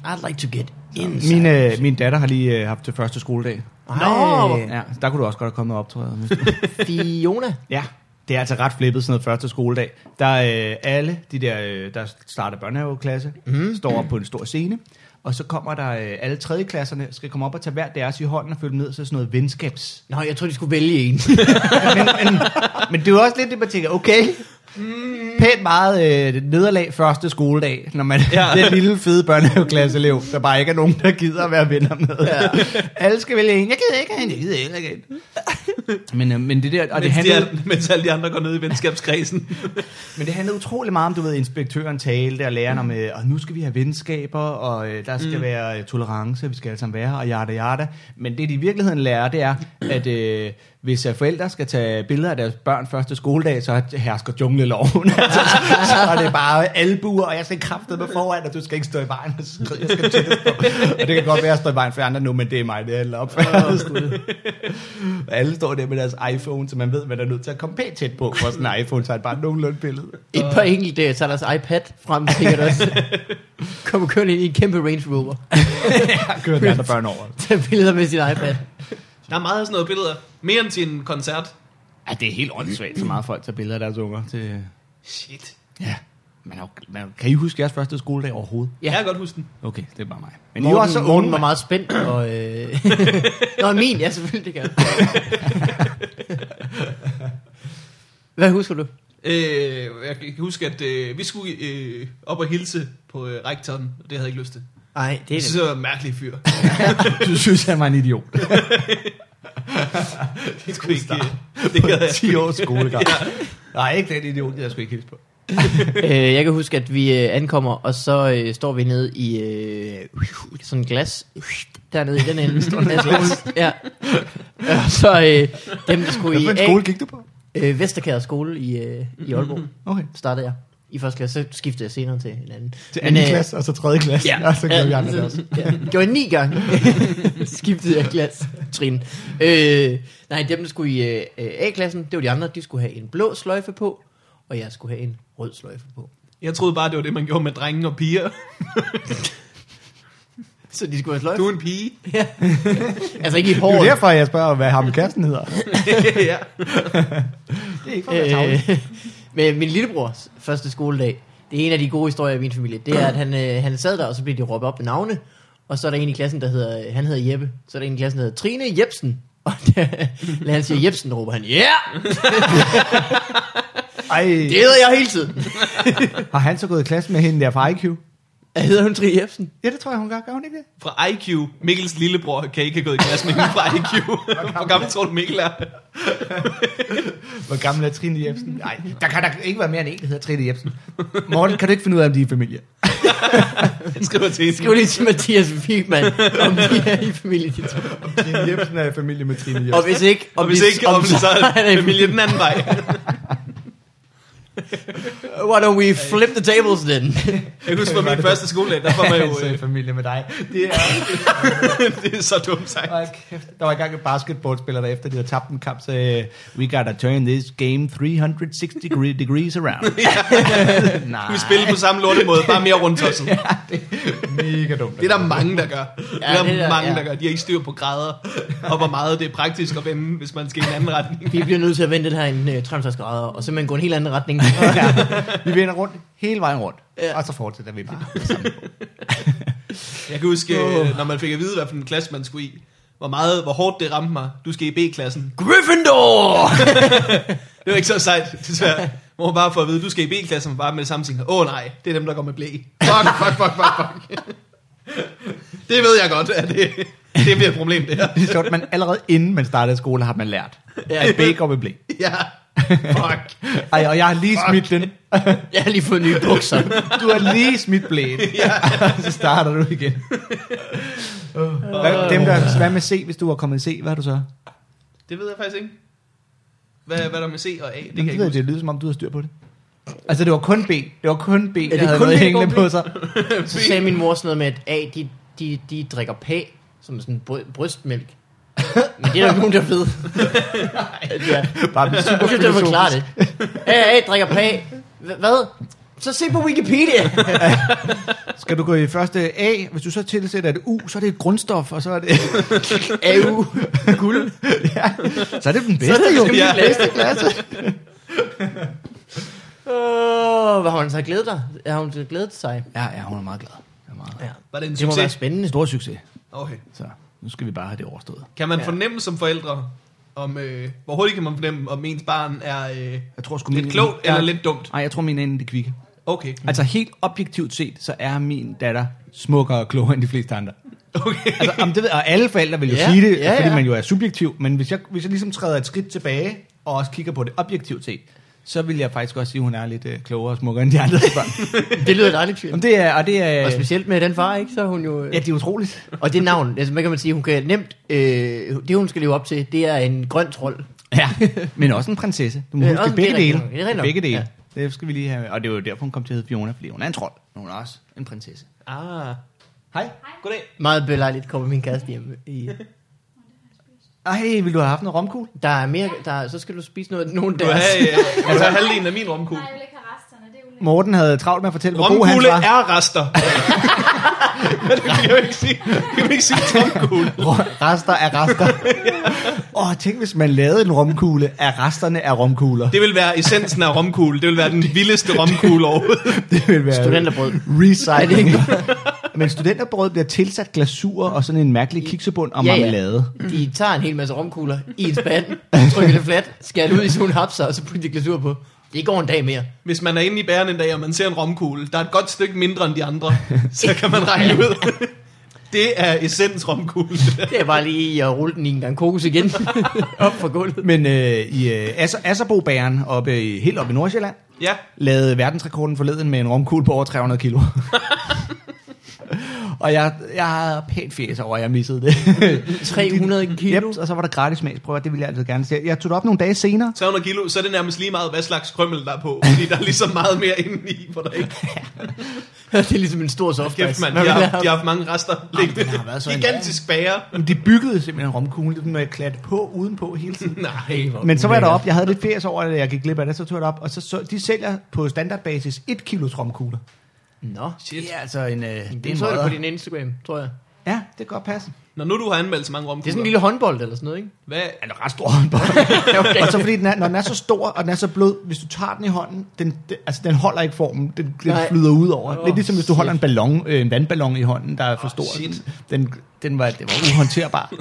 B: I'd like to get in.
A: Min, øh, min datter har lige øh, haft til første skoledag.
B: Nå,
A: Ja, der kunne du også godt have kommet og optræde. hvis du-
B: Fiona.
A: Ja, det er altså ret flippet sådan noget første skoledag. Der er øh, alle de der, øh, der starter børnehaveklasse,
B: Mhm.
A: mm. står op på en stor scene, og så kommer der øh, alle tredjeklasserne, skal komme op og tage hver deres i hånden og følge ned til sådan noget venskabs.
B: Nå, jeg tror de skulle vælge en.
A: men, men, men det er jo også lidt det, man tænker, okay,
B: Mhm.
A: pænt meget øh, nederlag første skoledag, når man ja.
C: Ja.
A: den lille fede børnehaveklasseelev, der bare ikke er nogen, der gider at være venner med. Ja. Alle skal vælge en, jeg gider ikke have en, jeg gider heller ikke have en. Men, øh, men det der, og det
C: Mens,
A: handlede,
C: de, er- mens alle de andre går ned i venskabskredsen.
A: men det handlede utrolig meget om, du ved, inspektøren talte og lærerne om, øh, og nu skal vi have venskaber, og øh, der skal mm. være øh, tolerance, vi skal alle sammen være her, og jada jada. Men det, de i virkeligheden lærer, det er, at øh, hvis øh, forældre skal tage billeder af deres børn første skoledag, så hersker jungleloven. altså, så, så er det bare albuer, og jeg skal kræfte med foran, og du skal ikke stå i vejen. Og, skride, jeg skal tættest på. og det kan godt være, at jeg står i vejen for andre nu, men det er mig, det handler om. Og alle står der med deres iPhone, så man ved, man er nødt til at komme pænt tæt på, for sådan en iPhone tager et bare nogenlunde billede.
B: Et par enkelte tager deres iPad frem, sikkert også. Kommer kørende ind i en kæmpe Range Rover.
A: Jeg kører de andre børn over.
B: Tag billeder med sin iPad.
C: Der er meget af sådan noget billeder. Mere end til en koncert.
A: Ja, det er helt åndssvagt, så meget folk tager billeder af deres unger. Til...
C: Shit.
A: Ja. Man, er jo- man, kan I huske jeres første skoledag overhovedet?
B: Ja.
C: Ja. Jeg kan godt huske den.
A: Okay, det er bare mig. Men
B: Morten,
A: I var så
B: Morten
A: unge,
B: var
A: var
B: meget spændt. Og, øh... Nå, min, ja selvfølgelig, det kan jeg. Hvad husker du?
C: Øh, jeg kan huske, at øh, vi skulle øh, op og hilse på øh, rektoren, og det havde jeg ikke lyst til.
B: Nej, det
C: Jeg synes,
B: er
C: det var en mærkelig fyr.
A: du synes, jeg var en idiot.
C: Det kunne ikke, øh, det gad jeg.
A: 10 års skolegang. Nej, ikke den idiot, jeg skulle ikke hilse på.
B: det. Øh, jeg kan huske, at vi øh, ankommer, og så øh, står vi nede i øh, sådan en glas. Dernede i den ende. Står der glas? Ja. Og så øh, dem, der skulle i
A: Hvilken
B: A,
A: skole Mm-hmm. gik du på?
B: øh, Vesterkær skole i, øh, i Aalborg,
A: Okay.
B: startede jeg i første klasse. Så skiftede jeg senere til en anden.
A: Til
B: Men,
A: anden
B: øh,
A: klasse, og så tredje klasse,
B: Ja.
A: og så gjorde vi andre det også.
B: Ja. Gjorde jeg ni gange. Skiftede jeg klasse. Trin. Øh, nej, dem der skulle i øh, øh, A-klassen, det var de andre, de skulle have en blå sløjfe på, og jeg skulle have en rød sløjfe på.
C: Jeg troede bare, det var det, man gjorde med drenge og piger.
B: Så de skulle have sløjfe?
C: Du
B: Du...
C: er en pige.
B: Ja. altså ikke i
A: Det er jo
B: håret.
A: derfor, jeg spørger, hvad ham kassen hedder.
C: ja.
A: Det er ikke
B: Øh, men min lillebrors første skoledag, det er en af de gode historier i min familie, det er, at han, øh, han sad der, og så blev de råbt op med navne, og så er der en i klassen, der hedder, han hedder Jeppe, så er der en i klassen, der hedder Trine Jebsen, og da da han siger Jebsen, råber han, ja, yeah!
A: Ej,
B: det hedder jeg hele tiden.
A: har han så gået i klasse med hende der fra IQ?
B: Hedder hun Trine Jebsen?
A: Ja, det tror jeg, hun gør. Gør hun ikke det?
C: Fra IQ. Mikkels lillebror kan ikke have gået i klasse med hende fra IQ. Hvor gammel tror du, Mikkel er?
A: Hvor gammel er Trine Jebsen? Nej, der kan der ikke være mere end en, der hedder Trine Jebsen. Morten, kan du ikke finde ud af, om de er i familie?
C: Han skriver til hende.
B: Skriv lige til Mathias Wigman, om de er i familie, de to.
A: Trine Jebsen er i familie med Trine Jebsen.
B: Og hvis ikke,
C: Og hvis
B: de-
C: ikke, om det så
B: han er
C: er
B: i familie.
C: familie den anden vej.
B: Why don't we flip the tables then?
C: Jeg kan huske, på min første skoledag, der var man jo...
A: så i
C: øh,
A: familie med dig. Det er,
C: det er så dumt sagt.
A: Ej, kæft. der var engang en basketballspiller, der efter de havde tabt en kamp, sagde, we gotta turn this game 360 degree- degrees around. Nej.
C: Vi spiller på samme lorte måde, bare mere rundt os. Det
A: Mega dumt. altså.
C: er der mange, der gør. Det er
B: det er
C: der
B: der,
C: mange,
B: ja.
C: der gør. De har ikke styr på grader, og hvor meget det er praktisk at vende, hvis man skal i en anden retning.
B: Vi bliver nødt til at vende den her en øh, 360 grader, og simpelthen gå en helt anden retning.
A: ja. Vi vender rundt, hele vejen rundt,
B: Ja.
A: ja. og så fortsætter vi bare.
C: Jeg kan huske, øh, når man fik at vide, hvad for en klasse man skulle i, hvor meget, hvor hårdt det ramte mig. Du skal i B-klassen.
B: Gryffindor!
C: Det var ikke så sejt, desværre. Hvor man bare får at vide, du skal i B-klassen, og bare med det samme tænker, åh oh, nej, det er dem, der går med blæ. Fuck, fuck, fuck, fuck, fuck. Det ved jeg godt, at det, det bliver et problem, det her.
A: Det er sjovt, man allerede inden man startede skole, har man lært.
B: Ja.
A: Ja. Bæk og med blæ.
C: Ja, fuck.
A: Ej, og jeg har lige smidt den.
B: Jeg har lige fået nye bukser.
A: Du har lige smidt blæen. ja. så starter du igen. Hvad, dem der, hvad med C, hvis du var kommet i C, hvad er du så?
C: Det ved jeg faktisk ikke. Hvad, hvad der med C og A, det
A: Det,
C: kan jeg
A: kan
C: ikke
A: ved,
C: huske.
A: det lyder som om, du har styr på det. Altså, det var kun B. Det var kun B,
B: det
A: der havde
B: kun
A: noget
B: B,
A: hængende
B: kun B?
A: på sig.
B: Så sagde min mor sådan noget med, at A, de, de, de drikker pæ, som sådan bry- brystmælk. Men det er der ikke nogen, der ved. ja.
A: Bare blev super
B: Jeg synes, det forklare det. A, A drikker pæ. H- hvad? Så se på Wikipedia.
A: Skal du gå i første A, hvis du så tilsætter et U, så er det et grundstof, og så er det...
B: AU. Guld.
A: ja, så er det den
B: Så er
A: bedste,
B: det
A: jo.
B: jo min
C: Ja.
B: bedste klasse. Åh, hvad har hun så glædet dig? Har hun så glædet sig?
A: Ja, ja, hun er meget glad. Hun Er meget...
B: Ja.
C: Var det en
B: Det må være
C: succes?
B: spændende.
A: En stor succes.
C: Okay.
A: Så nu skal vi bare have det overstået.
C: Kan man
B: Ja.
C: fornemme som forældre, om, øh, hvor hurtigt kan man fornemme, om ens barn er øh,
A: Jeg tror sgu,
C: lidt
A: min-
C: klogt
A: Ja.
C: eller lidt dumt?
A: Nej, jeg tror, min er en af de kvikke.
C: Okay.
A: Altså helt objektivt set, så er min datter smukkere og klogere end de fleste andre.
C: okay.
A: Altså, om det ved, og alle forældre vil jo
B: Ja,
A: ja, sige det,
B: ja,
A: ja, fordi
B: ja.
A: man jo er subjektiv, men hvis jeg, hvis jeg ligesom træder et skridt tilbage, og også kigger på det objektivt set, så vil jeg faktisk også sige, at hun er lidt øh, klogere og smukkere end de andre børn.
B: Det lyder dejligt, Fie.
A: Om det er, og det er, øh,
B: Og specielt med den far, ikke? Så er hun jo... øh,
A: ja, det er utroligt.
B: Og det navn, altså, hvad kan man sige, hun kan nemt, øh, det hun skal leve op til, det er en grøn trold.
A: Ja, men også en prinsesse. Du må
B: Ja,
A: huske
B: også- det er
A: begge
B: rigtigt
A: dele.
B: nok, det er rigtigt nok,
A: begge dele. Ja. Det skal vi lige have. Og det er jo derfor, hun kom til at hedde Fiona, fordi hun er en trold, men hun er også en prinsesse.
C: Ah.
A: Hej.
C: Goddag.
B: Meget belejligt kommer min kæreste hjem. I,
A: Ej, vil du have haft noget romkugle?
B: der er mere, der, er- så skal du spise noget, nogen
C: Du
B: der.
C: har, øh, du har halvdelen af min romkugle.
D: Nej, jeg vil ikke have resterne, det er ulækkert.
A: Morten havde travlt med at fortælle, hvor god han
C: Romkugle
A: var.
C: er rester. det kan jeg jo ikke sige. Jeg kan jo ikke sige romkugle.
A: rester af rester. Åh, oh, tænk hvis man lavede en romkugle af resterne af romkugler.
C: Det vil være essensen af romkugle. Det vil være den vildeste romkugle overhovedet.
A: Det ville være
B: Studenterbrød. Er det
A: recycling.
B: ikke
A: Men studenterbrød bliver tilsat glasur og sådan en mærkelig kiksebund og
B: Ja, ja.
A: marmelade.
B: De tager en hel masse romkugler i et spand, trykker det fladt, skærer det ud i sådan nogle hapser, og så putter de glasur på. Det går en dag mere.
C: Hvis man er inde i bæren en dag, og man ser en romkugle, der er et godt stykke mindre end de andre, så kan man regne ud. Det er essens romkugle.
B: Det er bare lige at rulle den i en gang kokos igen, op fra gulvet.
A: Men øh, i øh, Asser, Asserbo-bæren oppe i, helt oppe i Nordsjælland
C: Ja.
A: lavede verdensrekorden forleden med en romkugle på over 300 kilo. og jeg, jeg har pænt fjes over, at jeg missede det.
B: 300 kilo.
A: Yep, og så var der gratis smagsprøver, det ville jeg altid gerne se. Jeg tog det op nogle dage senere,
C: 300 kilo, så er det nærmest lige meget, hvad slags krømmel der er på. Fordi der er ligesom meget mere inde i, hvor der ikke
B: det er ligesom en stor
C: kæft,
B: softice.
C: mand.
B: Hvad
C: De
B: vil
C: har,
B: jeg
C: haft-
B: have?
C: de har haft mange rester liggende.
A: har været så en-
C: Gigantisk bager.
A: Men de byggede simpelthen romkuglen, når jeg klædte på udenpå hele tiden.
C: Nej,
A: Men så var jeg deroppe, jeg havde lidt fjes over, at jeg gik glip af det, så tog jeg det op, og så, så de sælger på standardbasis 1 kilos romkugler.
B: Nå,
C: shit.
A: er altså en... Øh, det er
B: det så jeg på din Instagram, tror jeg.
A: Ja, det kan godt passe.
C: Når nu du har anmeldt så mange
B: Det er sådan
C: romkugler,
B: en lille håndbold eller sådan noget, ikke?
C: hvad,
A: Ja, det er ret stor håndbold. og så fordi den er, når den er så stor, og den er så blød, hvis du tager den i hånden, den, den, altså, den holder ikke formen, den, den
B: Nej.
A: flyder ud over.
B: Åh,
A: Oh, lidt ligesom hvis du
B: shit.
A: holder en ballon, øh, en vandballon i hånden, der er for
C: Åh,
A: stor.
C: shit.
A: den, den, den var, det var uhåndterbar.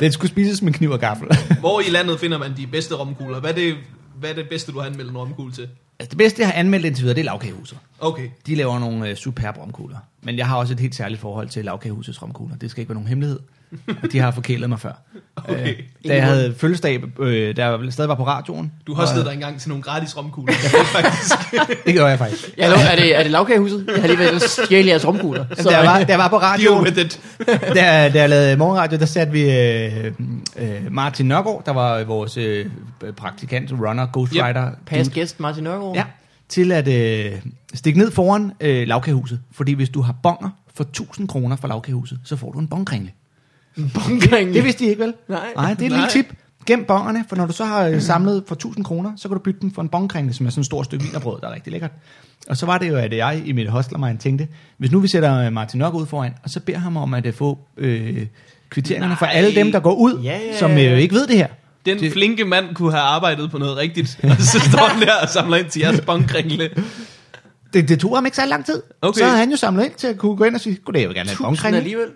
A: den skulle spises med kniv og gaffel.
C: hvor i landet finder man de bedste romkugler? Hvad er det, hvad er det bedste, du har anmeldt en romkugle til?
A: Altså det bedste, jeg har anmeldt indtil videre, det er lavkagehuset.
C: Okay.
A: De laver nogle øh, superbe romkugler. Men jeg har også et helt særligt forhold til lavkagehusets romkugler. Det skal ikke være nogen hemmelighed. Og de har forkælet mig før.
C: Okay.
A: Øh, da jeg havde fødselsdag, øh, da jeg stadig var på radioen.
C: Du
A: og-
C: hostede dig engang til nogle gratis romkugler. faktisk.
A: Det gjorde jeg faktisk.
B: Ja, hallo, er det, er det lavkagehuset? Jeg har lige været stjæle jeres romkugler.
A: Så, da, jeg var, da jeg var på
C: Deal
A: radioen,
C: with it.
A: da, da jeg lavede morgenradio, der satte vi øh, øh, Martin Nørgaard, der var vores øh, praktikant, runner, ghostwriter. Yep.
B: Pas gæst Martin Nørgaard.
A: Ja, til at øh, stikke ned foran øh, lavkagehuset. Fordi hvis du har bonger for 1000 kroner fra lavkagehuset, så får du en bongkringle.
B: Bunkring.
A: Det vidste de ikke, vel?
B: Nej.
A: Nej det er et
C: Nej.
A: lille tip. Gem bongerne, for når du så har øh, samlet for 1000 kroner, så kan du bytte dem for en bongkringle, som er sådan et stort stykke vinerbrød, der er rigtig lækkert. Og så var det jo, at jeg i mit hostlermind tænkte, hvis nu vi sætter øh, Martin Nok ud foran, og så beder ham om at øh, få øh, kvitteringerne for
C: Nej.
A: alle dem, der går ud,
B: Ja, ja, ja.
A: som øh, ikke ved det her.
C: Den det... flinke mand kunne have arbejdet på noget rigtigt, og så står han der og samler ind til jeres bongkringle.
A: Det, det tog ham ikke så lang tid.
C: Okay.
A: Så havde han jo samlet ind til at kunne gå ind og sige, goddag, jeg vil gerne have en
B: Tusind
A: bongkringle.
B: alligevel.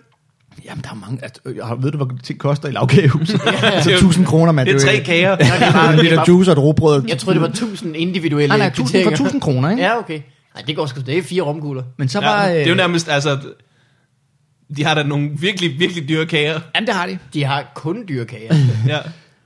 A: Jamen, der er mange... At, øh, jeg har- ved du, hvad ting koster i lavkagehuset? altså,
C: det er jo-
A: 1000 kroner, mand.
C: Det er tre
A: jo-
C: kager.
A: Ja, det er bare en liter juice og et råbrød.
B: Jeg troede, det var 1000 individuelle
A: Nej, nej, 1000 for
B: kvitteringer.
A: 1000 kroner, ikke?
B: Ja, okay. Nej, det går sgu. Det er fire romkugler.
A: Men så var...
C: Ja, det er jo
A: øh,
C: nærmest, altså... De har da nogle virkelig, virkelig dyre kager.
A: Jamen, det har de.
B: De har kun dyrkager.
C: Ja.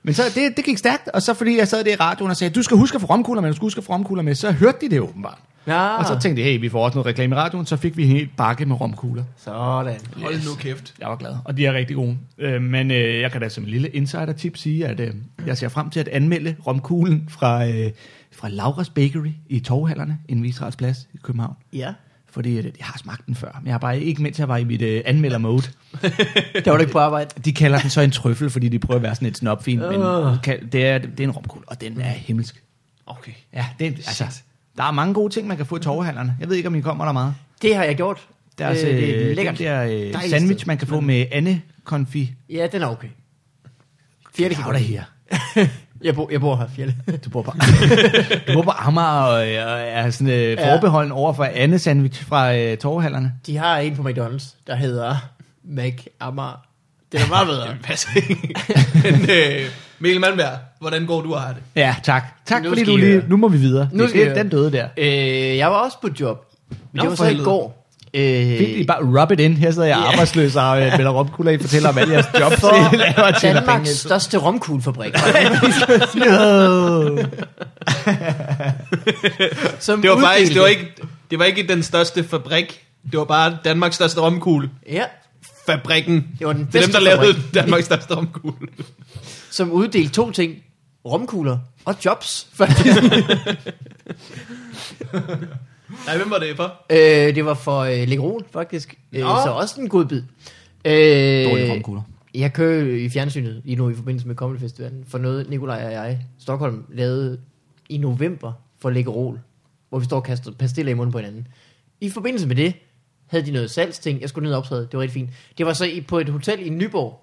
A: Men så, det, det gik stærkt, og så fordi jeg sad der i radioen og sagde, du skal huske at få romkugler med, du skal huske at få romkugler med, så hørte de det åbenbart.
B: Ja.
A: Og så tænkte jeg, hey, vi får også noget reklame i radioen, så fik vi en hel bakke med romkugler.
B: Sådan.
C: Hold nu kæft.
A: Jeg var glad, og de er rigtig gode. Øh, men øh, jeg kan da som en lille insider-tip sige, at øh, jeg ser frem til at anmelde romkuglen fra, øh, fra Lauras Bakery i Torvhallerne, en Israels Plads i København.
B: Ja.
A: Fordi øh, jeg har smagt den før, men jeg har bare ikke mens jeg var i mit øh, anmelder-mode.
B: Der var du ikke på arbejde.
A: De kalder den så en trøffel, fordi de prøver at være sådan et snopfin, men
B: Åh.
A: kal- det er, det er en romkugle, og den er himmelsk.
C: Okay.
A: Ja, det er, altså, der er mange gode ting, man kan få i torvehallerne. Jeg ved ikke, om I kommer der meget.
B: Det har jeg gjort.
A: Deres, øh,
B: det er
A: det
B: lækkert.
A: der øh,
B: Dejligt
A: sandwich,
B: sted.
A: man kan få med Anne konfi.
B: Ja, den er okay. Fjerde kan
A: Out of here.
B: Jeg bor, jeg bor her, Fjerde.
A: Du bor på, du bor på Amager og, øh, og er sådan, øh, forbeholden over for Anne sandwich fra øh, torvehallerne.
B: De har en på McDonald's, der hedder Mac Amar. Den er meget bedre.
C: Pas ikke. Men øh, Mikkel Mandberg, hvordan går du og har det?
A: Ja, tak. Tak
B: Nu
A: nu fordi
B: skal
A: du
B: I
A: lige...
B: høre.
A: Nu må vi videre.
B: Nu
A: Nu
B: skal I
A: skal det,
B: høre.
A: den døde der.
B: øh, jeg var også på job. Men
C: Nå,
B: det var
C: for
B: så i
C: helvede.
B: går. Øh,
A: Fedt, I bare rub it in. Her sidder jeg
B: Ja.
A: yeah. arbejdsløs og øh, melder romkugler. I fortæller om alle jeres job.
B: for
A: I laver og tjener
B: Danmarks
A: penge.
B: største romkuglefabrik.
A: No.
B: Som
C: Det var
B: uddelte-
C: faktisk, det var ikke, det var ikke den største fabrik. Det var bare Danmarks største romkugle.
B: Ja,
C: Fabrikken.
B: Det var den
C: det er dem,
B: bedste
C: der lavede
B: fabrik.
C: Danmarks største romkugle.
B: som uddelte to ting. Romkugler og jobs, faktisk.
C: Nej, hvem var det for?
B: øh, det var for øh, Legrol, faktisk. Øh,
C: Nå.
B: så også en god bid. Øh,
A: Dårlige romkugler.
B: Jeg kører i fjernsynet lige nu i forbindelse med Comedy Festivalen for noget, Nikolaj og jeg, Stockholm, lavede i november for Lækkerol, hvor vi står og kaster pastiller i munden på hinanden. I forbindelse med det havde de noget salgsting. Jeg skulle ned og optræde. Det var rigtig fint. Det var så i, på et hotel i Nyborg,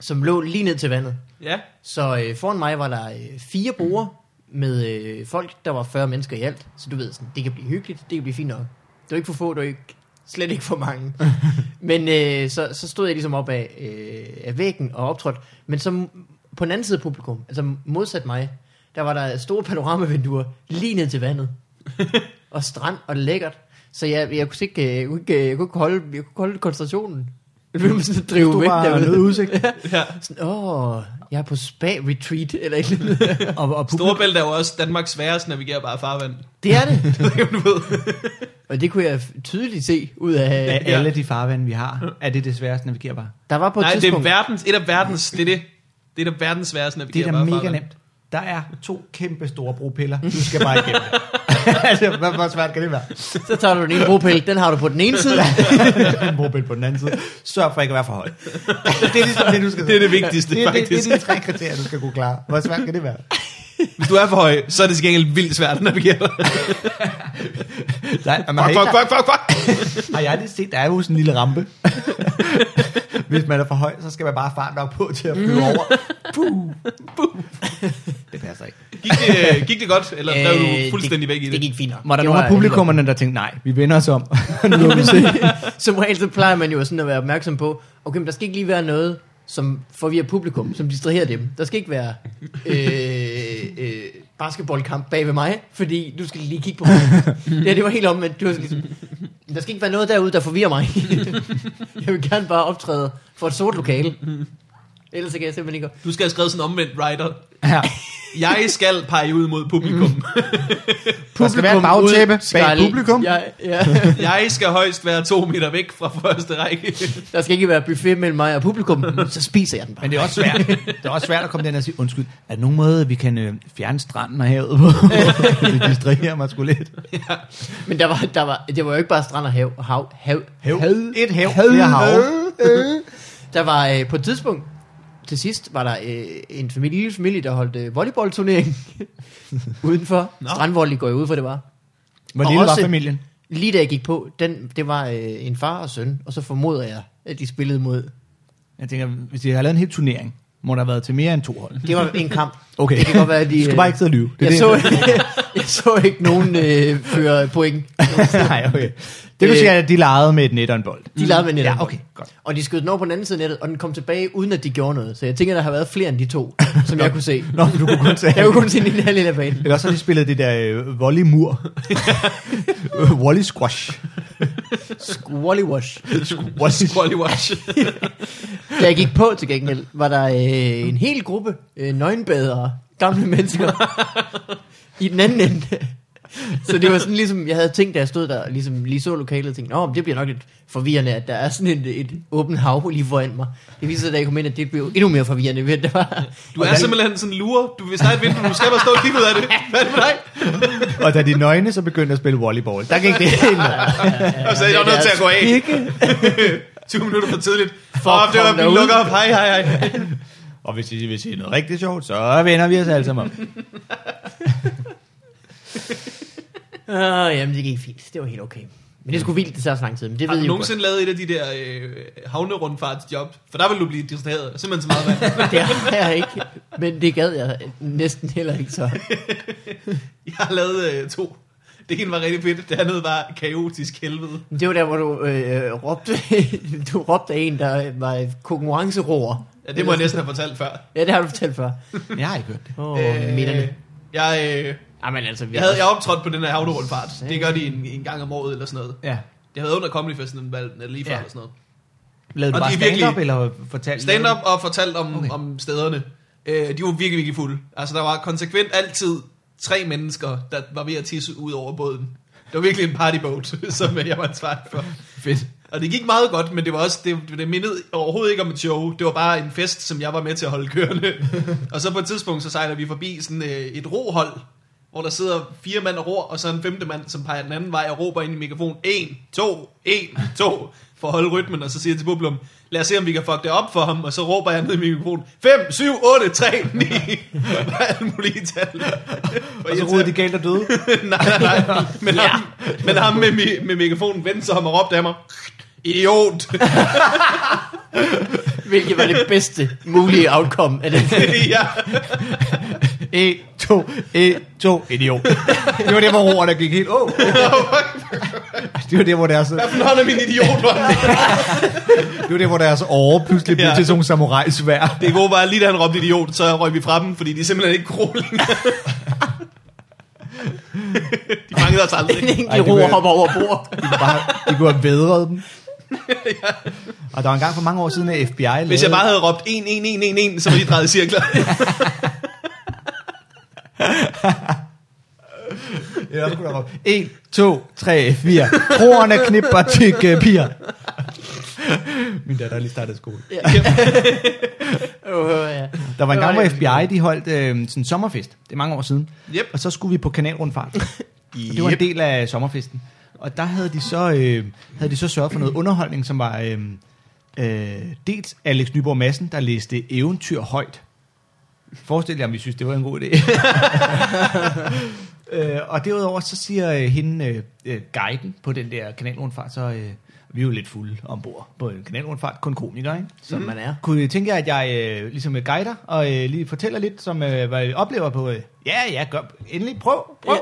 B: som lå lige ned til vandet.
C: Ja.
B: Så øh, foran mig var der øh, fire borer med øh, folk, der var 40 mennesker i alt. Så du ved, sådan, det kan blive hyggeligt, det kan blive fint nok. Det var ikke for få, det var ikke, slet ikke for mange. Men øh, så, så stod jeg ligesom op af, øh, af væggen og optrådte. Men så på den anden side af publikum, altså modsat mig, der var der store panoramavinduer lige ned til vandet. og strand og lækkert. Så jeg, jeg, kunne ikke, øh, jeg, kunne ikke, øh, jeg, kunne ikke holde, jeg kunne ikke holde koncentrationen. Jeg ville sådan drive
A: Du
B: væk
A: var
B: derude.
A: noget udsigt.
C: ja.
B: Sådan, åh, jeg er på spa-retreat, eller et eller andet.
A: og, og publikum,
C: Storebælt er jo også Danmarks sværeste navigerbare farvand.
B: Det er det.
C: Det ved jeg, om du ved.
B: Og det kunne jeg tydeligt se ud af...
A: af alle de farvande, vi har, er det det sværeste navigerbare.
B: Der var på et
C: Nej, det er
B: tidspunkt...
C: verdens, et af verdens, det er det. Det er da verdens sværeste
A: Det er da
C: navigerbare
A: mega
C: farvand.
A: nemt. Der er to kæmpe store bropiller. Du skal bare igennem det. altså, hvor, hvor svært kan det være?
B: så tager du den ene bropæl, den har du på den ene side.
A: En bropil på den anden side. Sørg for ikke at være for høj. det er ligesom det, du skal
C: Det er det vigtigste,
A: det, er- det, det,
C: faktisk.
A: det er de tre kriterier, du skal kunne klare. Hvor svært kan det være?
C: Hvis du er for høj, så er det til gengæld vildt svært at navigere.
A: Nej, man
C: Fuck, fuck, fuck, fuck, fuck.
A: Har jeg aldrig set, der er jo sådan en lille rampe. Hvis man er for høj, så skal man bare fart nok på til at flyve over. Puh. Puh. Det passer ikke.
C: Gik det, gik det godt, eller drev du fuldstændig
B: Øh, det,
C: væk i det?
B: Det gik fint nok.
A: Var der
B: Det
A: nogle af publikummerne, der tænkte, nej, vi vender os om. nu må vi se.
B: Som regel, så plejer man jo sådan at være opmærksom på, okay, men der skal ikke lige være noget, som forvirrer publikum, som distraherer dem. Der skal ikke være øh, øh, basketballkamp bag ved mig, fordi du skal lige kigge på mig. ja, det var helt om, at du var sådan ligesom, Der skal ikke være noget derude, der forvirrer mig. jeg vil gerne bare optræde for et sort lokale. Ellers så kan jeg simpelthen ikke...
C: Du skal have skrevet sådan en omvendt writer.
A: Ja.
C: Jeg skal pege ud mod publikum.
A: Der skal være et
B: Publikum ud,
A: bagtæppe bag
B: skal-
A: publikum.
B: Ja, ja.
C: Jeg skal højst være to meter væk fra første række.
B: Der skal ikke være buffet mellem mig og publikum, så spiser jeg den bare.
A: Men det er også svært. det er også svært at komme den og sige, undskyld, er der nogen måde, vi kan øh, fjerne stranden og havet på? det distraherer mig sgu lidt.
B: Men der var, der var, det var jo ikke bare strand og hav. hav, hav,
A: Hav.
B: hav.
A: Et hav. Flere hav.
B: Der var øh, på et tidspunkt, til sidst, var der øh, en familie, lille familie, der holdt øh, volleyballturnering udenfor.
C: Nå.
B: Strandvolley går jeg ud for, det var.
A: Hvor
B: Og
A: lille var
B: også-
A: familien?
B: Lige da jeg gik på, den, det var øh, en far og søn, og så formoder jeg, at de spillede mod...
A: Jeg tænker, hvis de har lavet en hel turnering, må der have været til mere end to hold.
B: Det var en kamp.
A: Okay.
B: Det kan godt være, at de... øh,
A: Du skal bare ikke sidde og lyve.
B: jeg,
A: det.
B: så, jeg så ikke nogen øh, føre point.
A: Nej, okay. Det vil
B: Øh,
A: sige, at de legede med et net og en bold.
B: De lavede med nettet.
A: Ja, okay, godt.
B: Og de skød den over på den anden side af nettet, og den kom tilbage, uden at de gjorde noget. Så jeg tænker, der har været flere end de to, som jeg kunne se.
A: Nå, men du kunne kun tage
B: Jeg kunne kun se den ene halvdel af banen.
A: Eller også har de spillet det der øh, volley-mur. volley-squash.
B: Squally wash.
A: Squash.
C: Wally Watch.
B: Da jeg gik på til gengæld, var der øh, en hel gruppe øh, nøgenbadere, gamle mennesker, i den anden ende. Så det var sådan ligesom, jeg havde tænkt, da jeg stod der, og ligesom lige så lokalet, og tænkte, Nå, men det bliver nok lidt forvirrende, at der er sådan et, et åbent hav lige foran mig. Det viser sig, da jeg kom ind, at det blev endnu mere forvirrende, ved at der var...
C: Du er simpelthen sådan en lure. Du, hvis der er et vindue, du skal bare stå og kigge ud af det. Hvad er det med dig?
A: Og da de nøgne så begyndte at spille volleyball, der gik det helt nøje.
C: Og så er jeg
B: det er
C: nødt til at gå af.
B: Ikke?
C: 20 minutter for tidligt.
B: For
C: Fuck, oh, det var
B: kom
C: min
B: derud.
C: lukker op. Hej, hej, hej.
A: Og hvis de vil sige noget rigtig sjovt, så vender vi os alle sammen om.
B: Ah, jamen, det gik fint. Det var helt okay. Men det skulle vildt, det tager så lang tid. Men det
C: Har
B: ved
C: du
B: jeg jo godt.
C: nogensinde lavet et af de der øh, havnerundfartsjob? For der vil du blive distraheret. Der er Simpelthen så meget vand.
B: Det har jeg ikke. Men det gad jeg næsten heller ikke så.
C: Jeg har lavet øh, to. Det ene var rigtig fedt, det andet var kaotisk helvede.
B: Men Det var der, hvor du øh, råbte, du råbte af en, der var konkurrenceroer.
C: Ja, det må jeg næsten have fortalt før. Øh,
B: Ja, det har du fortalt før.
A: Jeg har ikke hørt det.
B: Åh, oh, midterne.
C: jeg, øh,
B: Jamen altså, vi
C: jeg, havde, jeg optrådte på den her havnerundfart. Det gør de en, en gang om året eller sådan noget.
A: Ja.
C: Det havde under Comedy Festivalen eller lige før
A: Ja.
C: ja. eller sådan noget.
A: Lavede du
C: Og
A: bare
C: de er virkelig-
A: stand-up, eller fortalte
C: Stand-up og fortalt om,
A: Okay.
C: okay. om stederne. Øh, de var virkelig, virkelig fulde. Altså, der var konsekvent altid tre mennesker, der var ved at tisse ud over båden. Det var virkelig en partyboat, som jeg var ansvarlig for. Fedt. Og det gik meget godt, men det var også, det, det mindede overhovedet ikke om et show. Det var bare en fest, som jeg var med til at holde kørende. og så på et tidspunkt, så sejler vi forbi sådan øh, et rohold, hvor der sidder fire mand og ror, og så en femte mand, som peger den anden vej og råber ind i mikrofonen, en, to, en, to, for at holde rytmen, og så siger jeg til publikum, lad os se, om vi kan fuck det op for ham, og så råber jeg ned i mikrofonen, 5, 7, 8, 3, 9, og alle mulige tal.
A: Og så roede de galt og døde.
C: nej, nej, nej, men ham, men ham med, mi- med mikrofonen vendte sig om og råbte af mig, idiot,
B: Hvilket var det bedste mulige outcome af den.
C: ja. E,
A: 1, 2, 1, 2, idiot. Det var der, hvor roerne gik helt, åh. Oh. Det var der, hvor deres,
C: Hvad for en hånd er min idiot, var det?
A: det var der, hvor deres åre pludselig blev
C: Ja.
A: til sådan nogle samurajsvær.
C: Det gode var, at lige da han råbte idiot, så røg vi fra dem, fordi de simpelthen ikke kunne længere. de fangede os aldrig.
B: En
A: Ej, det
B: enkelt
A: kunne
B: roer
A: jeg-
B: hopper over bord.
A: De, kunne bare, de kunne have vædret dem. Og der var en gang for mange år siden, at FBI lavede...
C: Hvis jeg bare havde råbt 1, 1, 1, 1, 1, så var de drejet i cirkler.
A: Ja, der kunne der råbe, 1, 2, 3, 4. Roerne knipper tykke piger. Min datter har lige startet skole.
B: Åh, ja.
A: Der var en
B: Det var
A: gang, hvor
B: det.
A: FBI de holdt øh, sådan en sommerfest. Det er mange år siden.
C: Yep.
A: Og så skulle vi på kanalrundfart. Og det var en del af sommerfesten. Og der havde de så, øh, havde de så sørget for noget underholdning, som var øh, øh, dels Alex Nyborg Madsen, der læste eventyr højt. Forestil jer, om I synes, det var en god idé. øh, og derudover så siger øh, hende, øh, øh, guiden på den der kanalrundfart, så øh, vi er jo lidt fulde ombord på en kanalrundfart, kun komikere, ikke?
B: Som man er.
A: Kunne I tænke jer, at jeg øh, ligesom øh, guider og øh, lige fortæller lidt, som øh, hvad jeg oplever på øh, Ja, ja, gør, endelig prøv, prøv.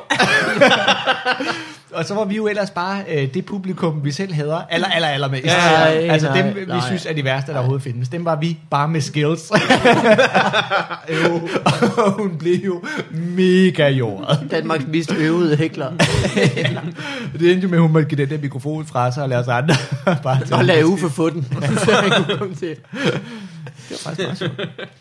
A: og så var vi jo ellers bare øh, det publikum, vi selv hader, aller, aller, aller mest.
B: Ja, ja, ja.
A: altså
B: Nej,
A: dem, vi
B: nej.
A: synes er de værste, der overhovedet findes. Dem var vi bare med skills. og hun blev jo mega jordet.
B: Danmarks mest øvede hækler.
A: Det endte jo med, at hun måtte give den der mikrofon fra sig og lade os andre bare
B: Og
A: tage-
B: lad Uffe få den, så han kunne komme til.
A: Det var faktisk meget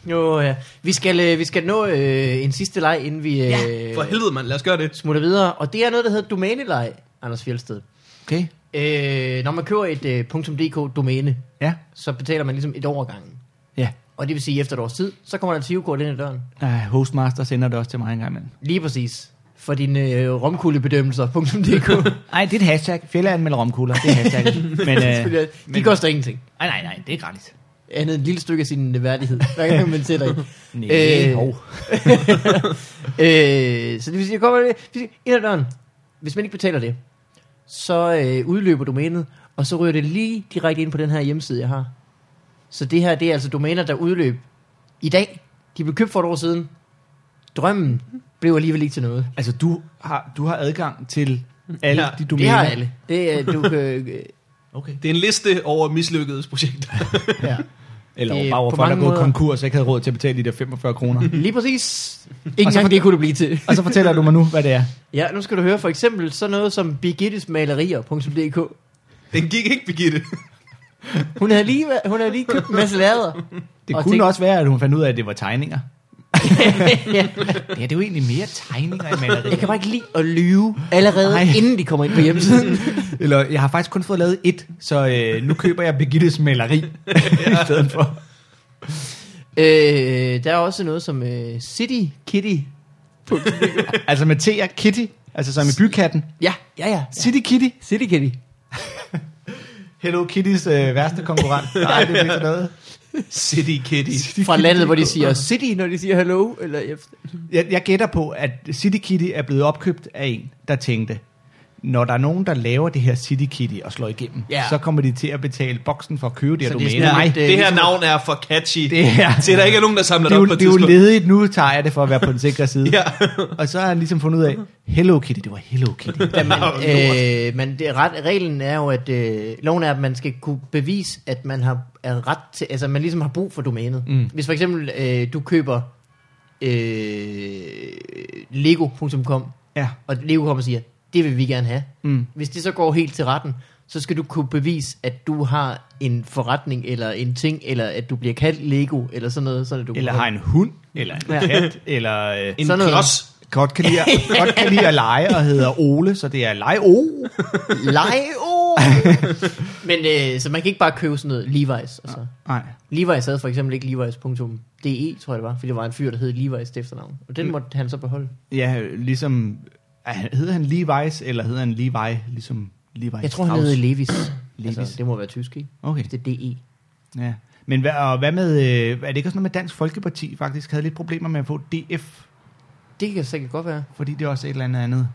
A: sjovt.
B: Jo, ja. Vi skal, øh, vi skal nå øh, en sidste leg, inden vi øh,
C: Ja, for helvede, mand. Lad os gøre det.
B: smutter videre. Og det er noget, der hedder domæneleg, Anders Fjeldsted.
A: Okay,
B: Øh, når man køber et øh, .dk domæne,
A: ja,
B: så betaler man ligesom et år ad gangen.
A: ja.
B: Og det vil sige, at efter et års tid, så kommer der et kort ind ad døren.
A: Uh, Hostmaster sender det også til mig en gang imellem.
B: Lige præcis. For dine øh, romkuglebedømmelser.dk.
A: Nej, det er et hashtag. Fjelle anmelder romkugler, det er hashtag. men, øh,
B: De koster ingenting.
A: nej, nej, nej, det er gratis.
B: Andet end et lille stykke af sin værdighed. Hver gang man sætter i.
A: Nej, hov.
B: øh, så det vil sige, der kommer det. hvis- Ind ad døren. Hvis man ikke betaler det, så øh, udløber domænet, og så ryger det lige direkte ind på den her hjemmeside, jeg har. Så det her, det er altså domæner, der udløb i dag. De blev købt for et år siden. Drømmen blev alligevel ikke til noget.
A: Altså, du har, du har adgang til alle
C: Ja,
A: de
B: Du
A: domæner.
B: det har alle. Det, er- du kan, øh,
A: Okay.
C: Det er en liste over mislykkedes projekter.
B: ja.
A: Eller
B: Det er
A: det, bare over
B: på
A: folk, der er
B: mange
A: gået
B: måder-
A: konkurs og ikke havde råd til at betale de der 45 kroner.
B: Lige præcis. Ikke
A: Og så
B: engang det kunne det blive til.
A: og så fortæller du mig nu, hvad det er.
B: Ja, nu skal du høre for eksempel sådan noget som birgittesmalerier.dk.
C: Den gik ikke, Birgitte.
B: Hun havde lige, væ- hun havde lige købt en masse lader.
A: Det
B: Og
A: og kunne
B: tænk-
A: også være, at hun fandt ud af, at det var tegninger.
B: ja.
A: Ja, det er jo egentlig mere tegninger end
B: Jeg kan bare ikke lide at lyve allerede,
A: Nej.
B: Ej. inden de kommer ind på hjemmesiden.
A: Eller, jeg har faktisk kun fået lavet et, så øh, nu køber jeg Birgittes maleri i stedet for.
B: øh, der er også noget som øh, City Kitty.
A: Altså med T og Kitty, altså som i bykatten.
B: Ja, ja, ja.
A: City Kitty.
B: City Kitty.
A: Hello Kittys øh, værste konkurrent. Nej, det er ikke sådan noget.
C: City Kitty.
B: Fra landet, hvor de siger City, når de siger hello. Eller efter.
A: Jeg, jeg gætter på, at City Kitty er blevet opkøbt af en, der tænkte, når der er nogen, der laver det her City Kitty og slår igennem,
B: Ja.
A: ja. så kommer de til at betale boksen for at købe det her
B: Så det er
A: domæne.
B: sådan
A: Nej,
B: lidt,
A: det,
C: Det her
B: ligesom-
C: navn er for catchy. Det
A: det er,
C: Til der ikke er nogen, der samler
A: det, er
C: det
A: jo,
C: op på et
A: det er jo
C: tidspunkt.
A: ledigt, nu tager jeg det for at være på den sikre side.
C: Ja.
A: Og så har han ligesom fundet ud af, Hello Kitty, det var Hello Kitty.
B: Ja, men,
C: Åh,
B: øh, men det, er ret, reglen er jo, at øh, loven er, at man skal kunne bevise, at man har er ret til, altså man ligesom har brug for domænet. Mm. Hvis for eksempel øh, du køber øh, lego.com,
A: Ja.
B: og Lego kommer og siger, det vil vi gerne have.
A: Mm.
B: Hvis det så går helt til retten, så skal du kunne bevise, at du har en forretning, eller en ting, eller at du bliver kaldt Lego, eller sådan noget. Sådan, at du
A: Eller
B: kan-
A: har en hund, eller en
B: Ja.
A: kat, eller... Øh,
C: En
B: Sådan noget.
C: klods.
A: Godt kan, lide at, godt kan lide at lege og hedder Ole, så det er lege O.
B: Lego! Men øh, så man kan ikke bare købe sådan noget Levi's. Og så.
A: Nej.
B: Levi's havde for eksempel ikke Levi's.de, tror jeg det var, fordi der var en fyr, der hed Levi's til efternavn. Og
A: Mm.
B: den måtte han så beholde.
A: Ja, ligesom... er han- Hedder han Levi's, eller hedder han Levi, ligesom Levi
B: Jeg tror, han hed Levi's.
A: Levi's.
B: Altså, det må være tysk, ikke?
A: Okay,
B: Det er E. DE.
A: ja. Men hvad, og hvad med... øh, Er det ikke også noget med Dansk Folkeparti faktisk havde lidt problemer med at få DF,
B: Det kan sikkert godt være.
A: fordi det er også et eller andet andet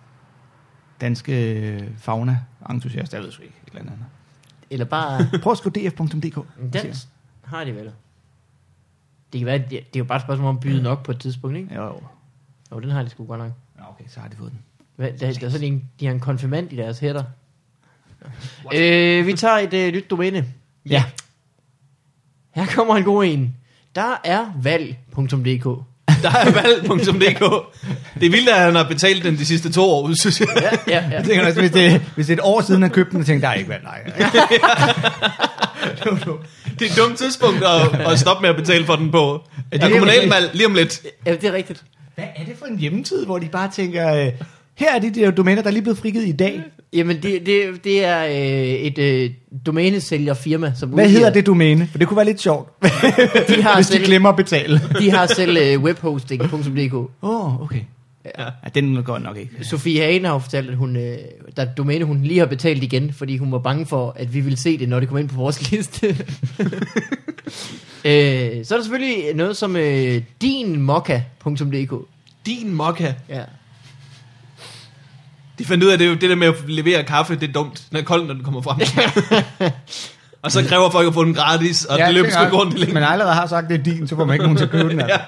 A: danske øh, fauna entusiast, jeg ved sgu ikke, et eller andet andet.
B: Eller bare...
A: Prøv at skrive df.dk.
B: Dans har de vel. Det kan være, det, det er jo bare et spørgsmål om at byde nok på et tidspunkt, ikke?
A: Jo, jo.
B: Jo, den har de sgu godt nok.
A: Nå, okay, så har de fået den.
B: Hvad, der, der er sådan en, de har en konfirmand i deres hætter. Øh, vi tager et øh, nyt domæne.
A: Ja.
B: Her kommer en god en. Der er valg.dk.
C: Der er valg.dk. Det er vildt, at han har betalt den de sidste to år, synes jeg.
B: Ja, ja, ja.
A: Jeg tænker også, hvis det, hvis det er et år siden, han købte den, og tænkte, der er ikke valgt, nej.
C: Det er et dumt tidspunkt at, at stoppe med at betale for den på. Der er kommunalvalg lige om lidt.
B: Ja, det er rigtigt.
A: Hvad er det for en hjemmeside, hvor de bare tænker, øh, her er de der domæner, der er lige blevet frigivet i dag.
B: Jamen, det, det, det er øh, et øh, domænesælgerfirma, som
A: Hvad
B: udgiver-
A: hedder det domæne? For det kunne være lidt sjovt,
B: De har
A: hvis de
B: selv,
A: glemmer at betale.
B: de har selv øh, webhosting.dk.
A: Åh, oh, okay. Ja. ja, den går nok ikke.
B: Sofie Hagen har jo fortalt, at hun, øh, der er et domæne, hun lige har betalt igen, fordi hun var bange for, at vi ville se det, når det kom ind på vores liste. øh, så er der selvfølgelig noget som øh, dinmokka.dk.
C: Din mokka.
B: Ja.
C: De fandt ud af, at det, er jo det der med at levere kaffe, det er dumt. Den er kold, når den kommer frem. og så kræver folk at få den gratis, og ja, det løber sgu ikke rundt i længe.
A: Men allerede har sagt, det er din, så får man ikke nogen til at købe den. Altså.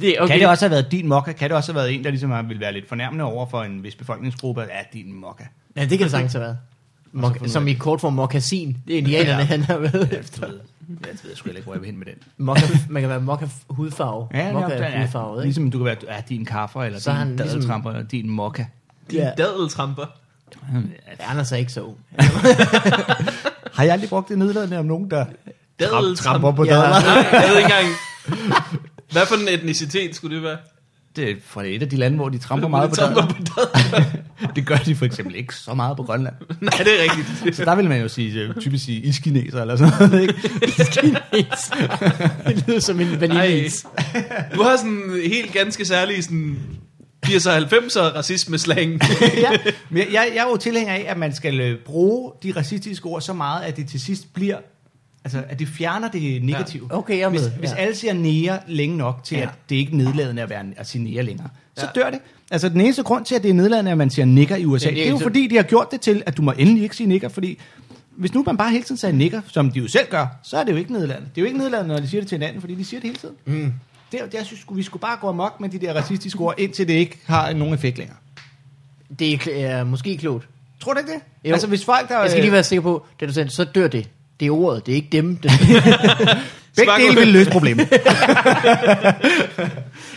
B: det, er
A: Okay.
B: okay.
A: Kan det også have været din mokka? Kan det også have været en, der ligesom har- ville være lidt fornærmende over for en vis befolkningsgruppe? Ja, din mokka.
B: Ja, det kan det sagtens have været. Mok- som i kort form mokassin. Det er indianerne,
A: Altså, øh, Ja.
B: han har været
A: Ja,
B: efter.
A: du ved, ja, det ved jeg sgu heller ikke, hvor jeg vil hen med den.
B: Mokka, man kan være mokka hudfarve.
A: Ja,
B: mokka
A: ja,
B: er hudfarvet,
A: ja,
B: ikke?
A: ligesom du kan være, ja, din kaffer, eller
B: Så
A: Så
B: er
A: din
B: han ligesom-
A: dadeltramper, eller din mokka.
C: Ja.
B: Ja.
C: Dadeltramper.
B: Anders er ikke så ung.
A: Har jeg aldrig brugt det nedladende om nogen, der
C: Dadeltramp-
A: tramper på
B: Ja.
A: ja. dadler?
C: Nej, jeg ved ikke engang. Hvad for en etnicitet skulle det være?
A: Det er fra et af de lande, hvor de tramper
C: Hvor
A: meget på
C: tramper
A: dadler.
C: på dadler.
A: Det gør de for eksempel ikke så meget på Grønland.
C: Nej, det er rigtigt.
A: Så der vil man jo sige, øh, typisk sige iskineser eller sådan noget, ikke?
B: det lyder som en vaniljeis.
C: Du har sådan en helt ganske særlig sådan 80'er 90'er racisme-slang.
A: ja, men jeg, jeg er jo tilhænger af, at man skal øh, bruge de racistiske ord så meget, at det til sidst bliver, altså at det fjerner det negative.
B: Ja. Okay, jeg er
A: hvis,
B: med.
A: hvis
B: Ja.
A: alle siger nære længe nok til,
B: Ja.
A: ja. at det ikke er nedladende at, være, at sige nære længere, så
C: Ja.
A: dør det. Altså den eneste grund til, at det er nedladende, at man siger nikker i USA,
B: Men det er
A: det er jo
B: så-
A: fordi, de har gjort det til, at du må endelig ikke sige nikker, fordi hvis nu man bare hele tiden sagde nikker, som de jo selv gør, så er det jo ikke nedladende. Det er jo ikke nedladende, når de siger det til hinanden, fordi de siger det hele tiden. Mm. Det, er- det, jeg synes, vi skulle bare gå amok med de der racistiske ord, indtil det ikke har nogen effekt længere.
B: Det er kl- er måske klogt.
A: Tror du ikke det?
B: Jo.
A: Jo. Altså hvis folk der
B: Jeg skal lige være sikker på, da du sagde, så dør det. Det er ordet, det er ikke dem. Det
A: begge
C: Spark
A: dele
C: ud.
A: vil løse problemet.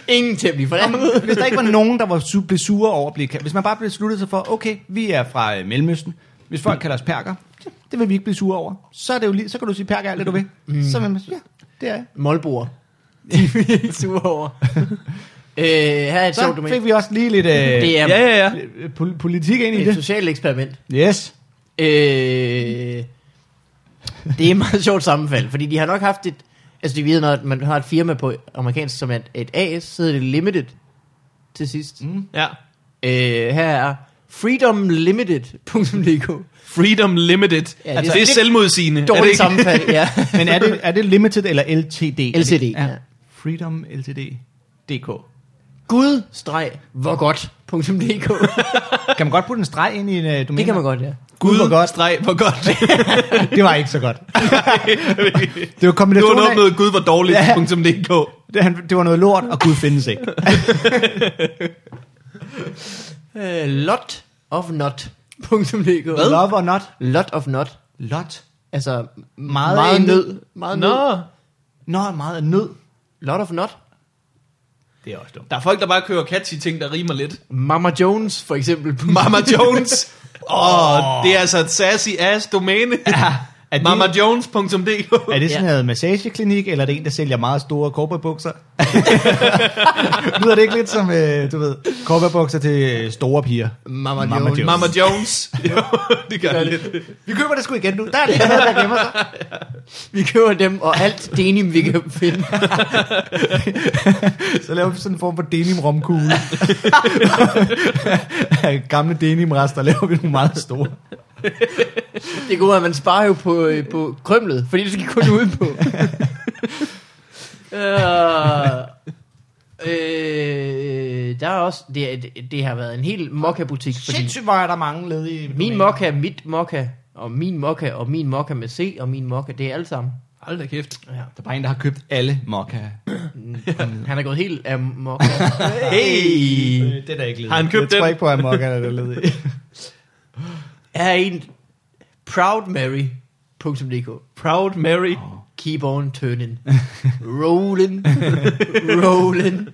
B: ingen temmelig for det.
A: hvis der ikke var nogen der var su- blev sure over at blive kaldt. hvis man bare blev besluttet sig for okay, vi er fra øh, Mellemøsten. Hvis folk kalder os perker, ja, det vil vi ikke blive sure over. Så er det jo lige, så kan du sige perker alt det du vil. Mm. Så vil man sige, ja, det er jeg.
B: Målbord. Det er vi ikke sure over. øh, her er et sjovt
A: Så
B: domæne.
A: fik vi også lige lidt øh,
B: Det
A: det
B: er
C: Ja, ja, ja.
A: er... politik ind i
B: et
A: det.
B: socialt eksperiment.
A: Yes.
B: Øh, det er et meget sjovt sammenfald, fordi de har nok haft et... Altså, de ved, når man har et firma på amerikansk, som er et, et AS, så hedder det Limited til sidst. Mm.
C: Ja.
B: Øh, her er freedomlimited.dk.
C: Freedom Limited. Ja, det, altså, det er
B: lidt
C: selvmodsigende. er det
B: Dårligt
C: ikke?
B: sammenfald, ja.
A: Men er det, er det limited eller LTD?
B: LTD, ja.
A: Freedom LTD. DK.
B: Gud-hvor-godt.dk.
A: Kan man godt putte en streg ind i en øh, domæne?
B: Det kan man godt, ja.
C: Gud,
A: Gud, hvor godt.
C: Streg, hvor godt.
A: Det var ikke så godt. det var
C: det var
A: kombinationen
C: noget
A: af-
C: med Gud, hvor dårligt.
A: Ja.
C: punktum .dk.
A: Det, han, det var noget lort, og Gud findes ikke.
B: Øh, lotofnot.dk. Hvad?
A: Love or not?
B: Lot of not.
A: Lot.
B: Altså, meget,
A: Meget
B: meget
A: intet.
B: nød. Meget nød.
C: Nå.
A: Nå, meget af nød.
B: Lot of not.
A: Det er også dumt.
C: Der er folk, der bare kører catchy ting, der rimer lidt.
B: Mama Jones, for eksempel.
C: Mama Jones. Åh, oh, det er altså et sassy ass domæne. Ja.
A: Er det,
C: MamaJones.dk
A: er det sådan
B: Ja.
A: noget massageklinik, eller er det en, der sælger meget store korporbukser? Lyder det ikke lidt som, øh, du ved, korporbukser til øh, store piger?
B: Mama,
A: Mama
B: Jones.
A: Jones.
C: Mama Jones. jo, det gør det lidt.
A: Vi køber det sgu igen nu. Der er det, ikke noget, der gemmer sig.
B: Vi køber dem og alt denim, vi kan finde.
A: Så laver vi sådan en form for denim-romkugle. Gamle denim-rester laver vi nogle meget store.
B: Det gode er, at man sparer jo på, øh, på krømlet, fordi det skal kun ud på. uh, øh, der er også, det, er- det, det har været en hel mokka-butik, fordi
A: Sindssygt, hvor er der mange ledige.
B: min mokka, mit mokka, og min mokka, og min mokka med C, og min mokka, det er alle sammen.
C: Hold da kæft.
B: Ja.
A: Der er bare en, der har købt alle mokka.
B: Han er gået helt af mokka.
C: Hey.
A: Øh, Det er da ikke ledigt.
C: Har han købt
A: jeg tror
C: den?
A: ikke på, at Morgan er der ledig.
B: Her er en proudmary.dk
C: Proud Mary.
B: Keep on turning. Rolling. Rolling.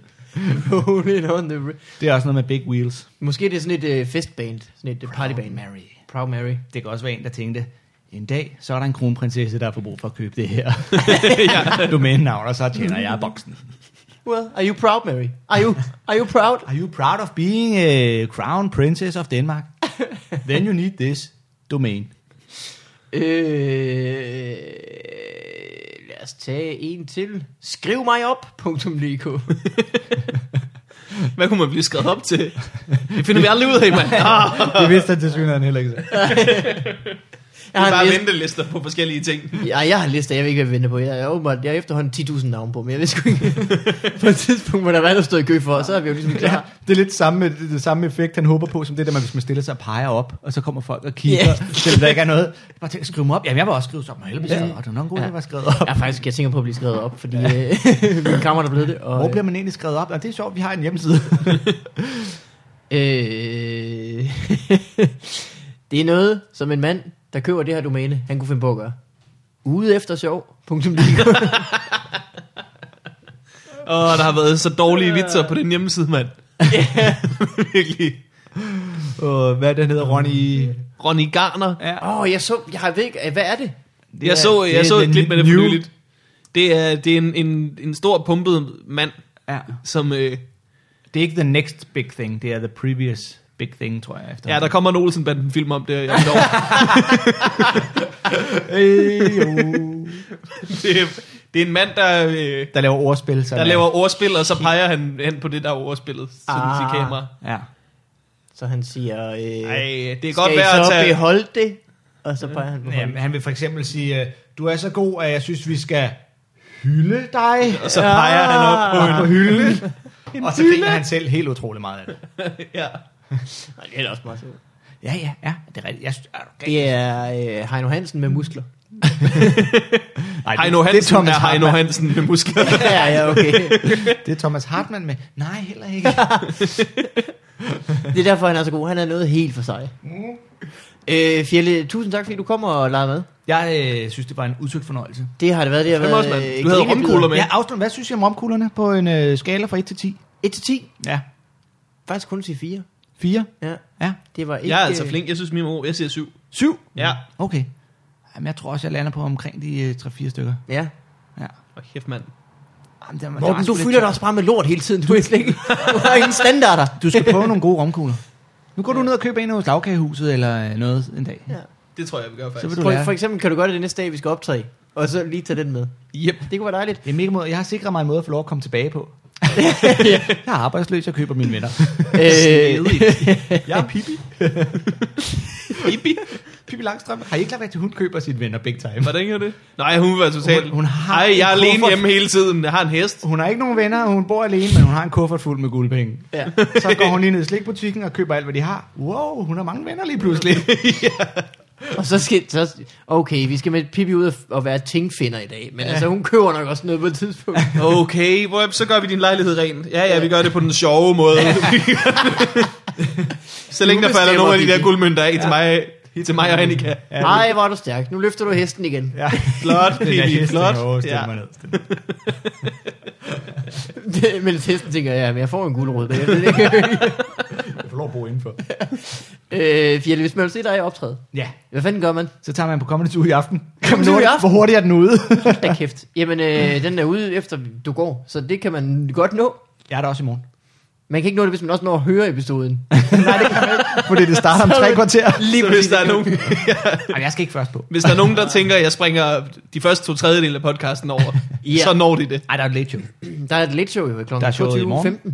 B: Rolling on the... r-
A: Det er også noget med big wheels.
B: Måske er det er sådan et uh, festband, sådan et uh, partyband.
A: Mary.
B: Proud Mary.
A: Det kan også være en, der tænkte, en dag, så er der en kronprinsesse, der får brug for at købe det her
C: ja.
A: domænenavn, og så tjener jeg boksen.
B: Well, are you proud, Mary? Are you, are you proud?
A: Are you proud of being a crown princess of Denmark? Then you need this domain.
B: Øh, lad os tage en til. Skriv mig op.dk
C: Hvad kunne man blive skrevet op til? Det finder vi aldrig ud af, mand. Ah.
A: Det vidste han til synligheden heller ikke. selv.
C: Det er
B: har
C: bare
B: en liste.
C: ventelister på forskellige ting.
B: Ja, jeg har en liste, jeg ved ikke, hvad jeg venter på. Jeg er åbenbart, jeg har efterhånden 10.000 navne på, men jeg ved sgu ikke. på et tidspunkt, hvor der var andre stod i kø for, så er vi jo ligesom
A: Ja,
B: klar.
A: det er lidt samme, det, det samme effekt, han håber på, som det der, man, hvis man stiller sig og peger op, og så kommer folk og kigger,
B: Ja.
A: yeah. selvom der ikke er noget. Bare tænk, skriv mig op. Jamen, jeg var også skrevet op, og helvede, ja. det var nok en god, ja.
B: Ja.
A: det var skrevet op.
B: Jeg er faktisk, jeg tænker på at blive skrevet op, fordi øh, min kammerat er blevet det. Og,
A: Hvor bliver man egentlig skrevet op? Nå, det er sjovt, vi har en hjemmeside.
B: øh, det er noget, som en mand, der køber det her domæne, han kunne finde på at gøre. Ude efter sjov. Punktum
C: Åh, der har været så dårlige vitser på den hjemmeside, mand. Virkelig.
A: og hvad er det, han hedder, Ronny?
C: Ronny Garner.
A: Ja.
B: Åh, oh, jeg så, jeg ved ikke, hvad er det?
C: Jeg så,
A: det
C: jeg
A: er
C: så et
A: the
C: klip med det for
A: new-
C: nyligt. Det er, det er en, en, en stor pumpet mand,
A: Ja.
C: som... Øh,
A: Det er ikke the next big thing, det er the previous big thing, tror jeg. Efter.
C: ja, der kommer en Olsen-banden-film om det om et år.
A: Øh, jo.
C: det, er, det er en mand, der, øh,
A: der laver ordspil. Som
C: der
A: er-
C: laver ordspil, og så peger han hen på det der ordspillet som ah.
B: Ah.
C: sit kamera.
A: Ja.
B: Så han siger, øh,
C: Ej, det er
B: skal
C: godt
B: I
C: værd at
B: så
C: tage...
B: beholde det? Og så peger han på
A: Jamen,
B: hånden.
A: han vil for eksempel sige, øh, du er så god, at jeg synes, vi skal hylde dig. Ah.
C: Og så peger han op på
A: på hylden. og så griner han selv helt utrolig meget af det.
C: ja.
B: Ej, Det er da også meget sjovt.
A: Ja, ja, ja. Det er rigtigt. Jeg synes, er du gal?
B: Det er øh, Heino Hansen med muskler.
A: Ej,
C: Heino Hansen
A: Thomas
C: er Heino
A: Hartmann.
C: Hansen med muskler.
B: ja, ja, okay.
A: Det er Thomas Hartmann med. Nej, heller ikke.
B: Det er derfor, han er så god. Han er noget helt for sig.
C: Mm.
B: Øh, Fjelle, tusind tak, fordi du kommer og leger med.
A: Jeg øh, synes, det var en udtrykt fornøjelse.
B: Det har det været. Det har
C: Fem
B: været
C: også, mand.
B: øh,
C: Du havde
B: grinebider.
C: romkugler med.
A: Ja, afslut. Hvad synes I om romkuglerne på en øh, skala fra 1 til 10?
B: 1-10.
A: Ja.
B: Faktisk kun til 4.
A: 4?
B: Ja,
A: Ja.
B: det var ikke...
C: Jeg er altså
B: øh,
C: flink. Jeg synes, min mor, jeg siger syv.
A: 7?
C: Ja.
A: Okay. Jamen, jeg tror også, jeg lander på omkring de øh, 3-4 stykker.
B: Ja.
A: Ja.
C: Og kæft, mand.
A: Jamen, det var, det var
B: Morten,
A: sgu
B: du
A: lidt
B: fylder dig
A: sjovt.
B: også bare med lort hele tiden. Du, er slet ikke, du har ingen standarder.
A: Du skal prøve nogle gode romkugler. Nu går du ned og køber en hos lavkagehuset eller øh, noget en dag.
B: Ja.
C: Det tror jeg, vi gør
A: Så
C: faktisk.
A: vil du
B: For,
A: lære.
B: for eksempel kan du gøre det den næste dag, vi skal optræde. Og så lige tage den med.
C: Yep.
B: Det kunne være dejligt.
A: Det er mega måde. Jeg har sikret mig en måde at få lov at komme tilbage på. jeg er arbejdsløs, jeg køber mine venner.
B: øh,
A: Jeg er Pippi. Pippi? Pippi Langstrøm. Har I ikke lagt at hun køber sine venner big time?
C: Hvordan gør det? Nej, hun var totalt...
A: Hun- hun har
C: Ej,
A: en
C: jeg er alene
A: kuffert.
C: hjemme hele tiden. Jeg har en hest.
A: Hun har ikke nogen venner, hun bor alene, men hun har en kuffert fuld med guldpenge.
B: ja.
A: Så går hun lige ned i slikbutikken og køber alt, hvad de har. Wow, hun har mange venner lige pludselig.
B: Og så skal... Så, okay, vi skal med Pippi ud og- og være tingfinder i dag. Men ja. altså, hun køber nok også noget på et tidspunkt.
C: Okay, hvor, så gør vi din lejlighed ren. Ja, ja, vi gør det på den sjove måde. så længe der
B: Nu
C: falder nogle af de
B: bestemmer
C: der
B: de.
C: guldmønter af til mig, til mig og Annika.
B: Nej, hvor er du stærk. Nu løfter du hesten igen.
A: Ja.
C: Flot,
A: Den der
C: Pippi,
A: hest,
C: flot.
A: tænker, åh, stil
C: Ja.
A: mig ned. Stil-
B: Det- Mens hesten tænker, ja, men jeg får en gulerod bagefter. ikke?
A: Jeg får lov at bo indenfor.
B: øh, Fjelle, hvis man vil se dig optræde,
A: Ja,
B: hvad fanden gør man?
A: så tager man på Comedy Zoo i aften.
B: Comedy Zoo i
A: Hvor-
B: aften?
A: Hvor hurtigt er den ude?
B: Hold Da kæft. Jamen, øh, den er ude efter du går, så det kan man godt nå.
A: Jeg er der også i morgen.
B: Man kan ikke nå det, hvis man også når at høre episoden.
A: Nej, det kan man ikke, fordi det starter om tre kvarter.
C: Så hvis der, er nogen,
A: Jamen, jeg skal ikke først på.
C: hvis der er nogen, der tænker, at jeg springer de første to tredjedel af podcasten over,
B: Ja.
C: så når de det.
A: Ej, der er et late show.
B: Der er et late show jo kl.
A: Der er showet i morgen.
B: 22.15.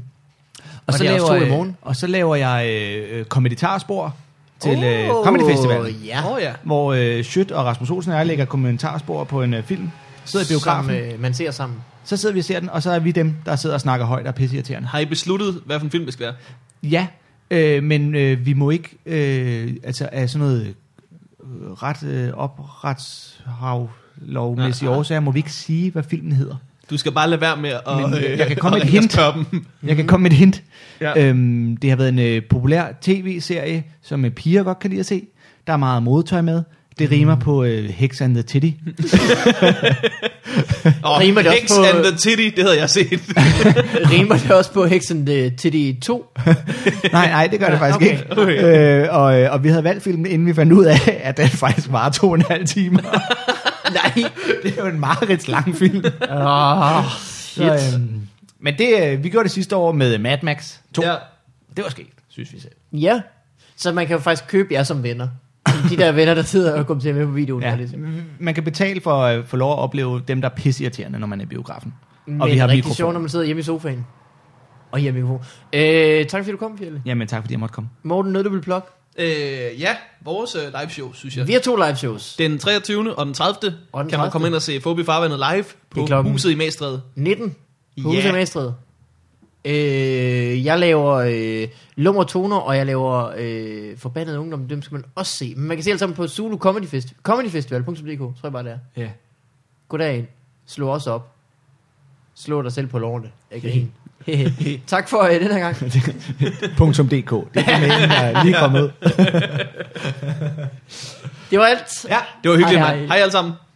A: Og, så
B: det er også
A: laver,
B: to i
A: øh,
B: morgen.
A: og så laver jeg øh, øh, kommentarspor til øh, Comedy Festival,
B: Ja.
C: Åh ja.
A: hvor øh, Schødt og Rasmus Olsen og jeg lægger kommentarspor på en øh, film. Sidder i biografen,
B: Som, øh, man ser sammen.
A: så sidder vi og ser den, og så er vi dem, der sidder og snakker højt og er pisseirriterende.
C: Har I besluttet, hvad for en film det skal være?
A: Ja, øh, men øh, vi må ikke, øh, altså af sådan noget øh, ret øh, opretshav lovmæssige
C: Nej.
A: årsager, må vi ikke sige, hvad filmen hedder.
C: Du skal bare lade være med at... øh,
A: Men jeg kan komme
C: at
A: med et hint.
C: spørge dem.
A: Jeg kan komme med et hint.
C: Ja.
A: Øhm, det har været en øh, populær tv-serie, som øh, piger godt kan lide at se. Der er meget modtøj med. Det rimer på øh, Hex and the Titty.
C: Og
B: Rimer det også
C: Hex
B: på-
C: and the Titty, det havde jeg set.
B: Rimer det også på Hexen øh, til de to?
A: nej, nej, det gør det faktisk
B: okay,
A: ikke. Okay. Øh, og, øh, og vi havde valgt filmen, inden vi fandt ud af, at den faktisk var to og en halv time.
B: Nej.
A: det er jo en meget lang film.
B: Oh, shit.
A: Så, øhm, men det, øh, vi gjorde det sidste år med Mad Max 2. Ja.
C: ja.
A: Det var skægt, synes vi selv.
B: Ja, så man kan jo faktisk købe jer som venner. De der venner, der sidder og kommenterer med på videoen. Ja.
A: Ja.
B: Ligesom.
A: Man kan betale for at få lov at opleve dem, der er pisseirriterende, når man er i biografen.
B: Men
A: Og vi har
B: rigtig sjovt,
A: mikrofoner.
B: når man sidder hjemme i sofaen. Og her mikrofon. Øh, tak fordi du kom, Fjelle.
A: Jamen tak, fordi jeg måtte komme.
B: Morten, noget du vil plukke?
C: Øh, ja, vores øh, live show, synes jeg.
B: Vi har to live shows.
C: Den 23. og den 30.
B: Og den 30..
C: kan man komme ind og se Fobi Farvandet live på
B: klokken-
C: huset i Magstræde.
B: 19 på
C: Ja.
B: yeah. Husemastred. Øh, jeg laver øh, lummer toner, og jeg laver øh, forbandet ungdom. Dem skal man også se. Men man kan se alt sammen på Zulu Comedy, Fest, Comedy Festival.dk, tror jeg bare det er.
C: Ja.
B: Goddag ind. Slå os op. Slå dig selv på lårene. Jeg griner. tak for øh, den her gang.
A: .dk. Det er mailen, der er lige kommet ud.
B: Det var alt.
A: Ja.
C: Det var
B: Hej,
C: hyggeligt, hej,
B: hej.
C: hej. hej alle sammen.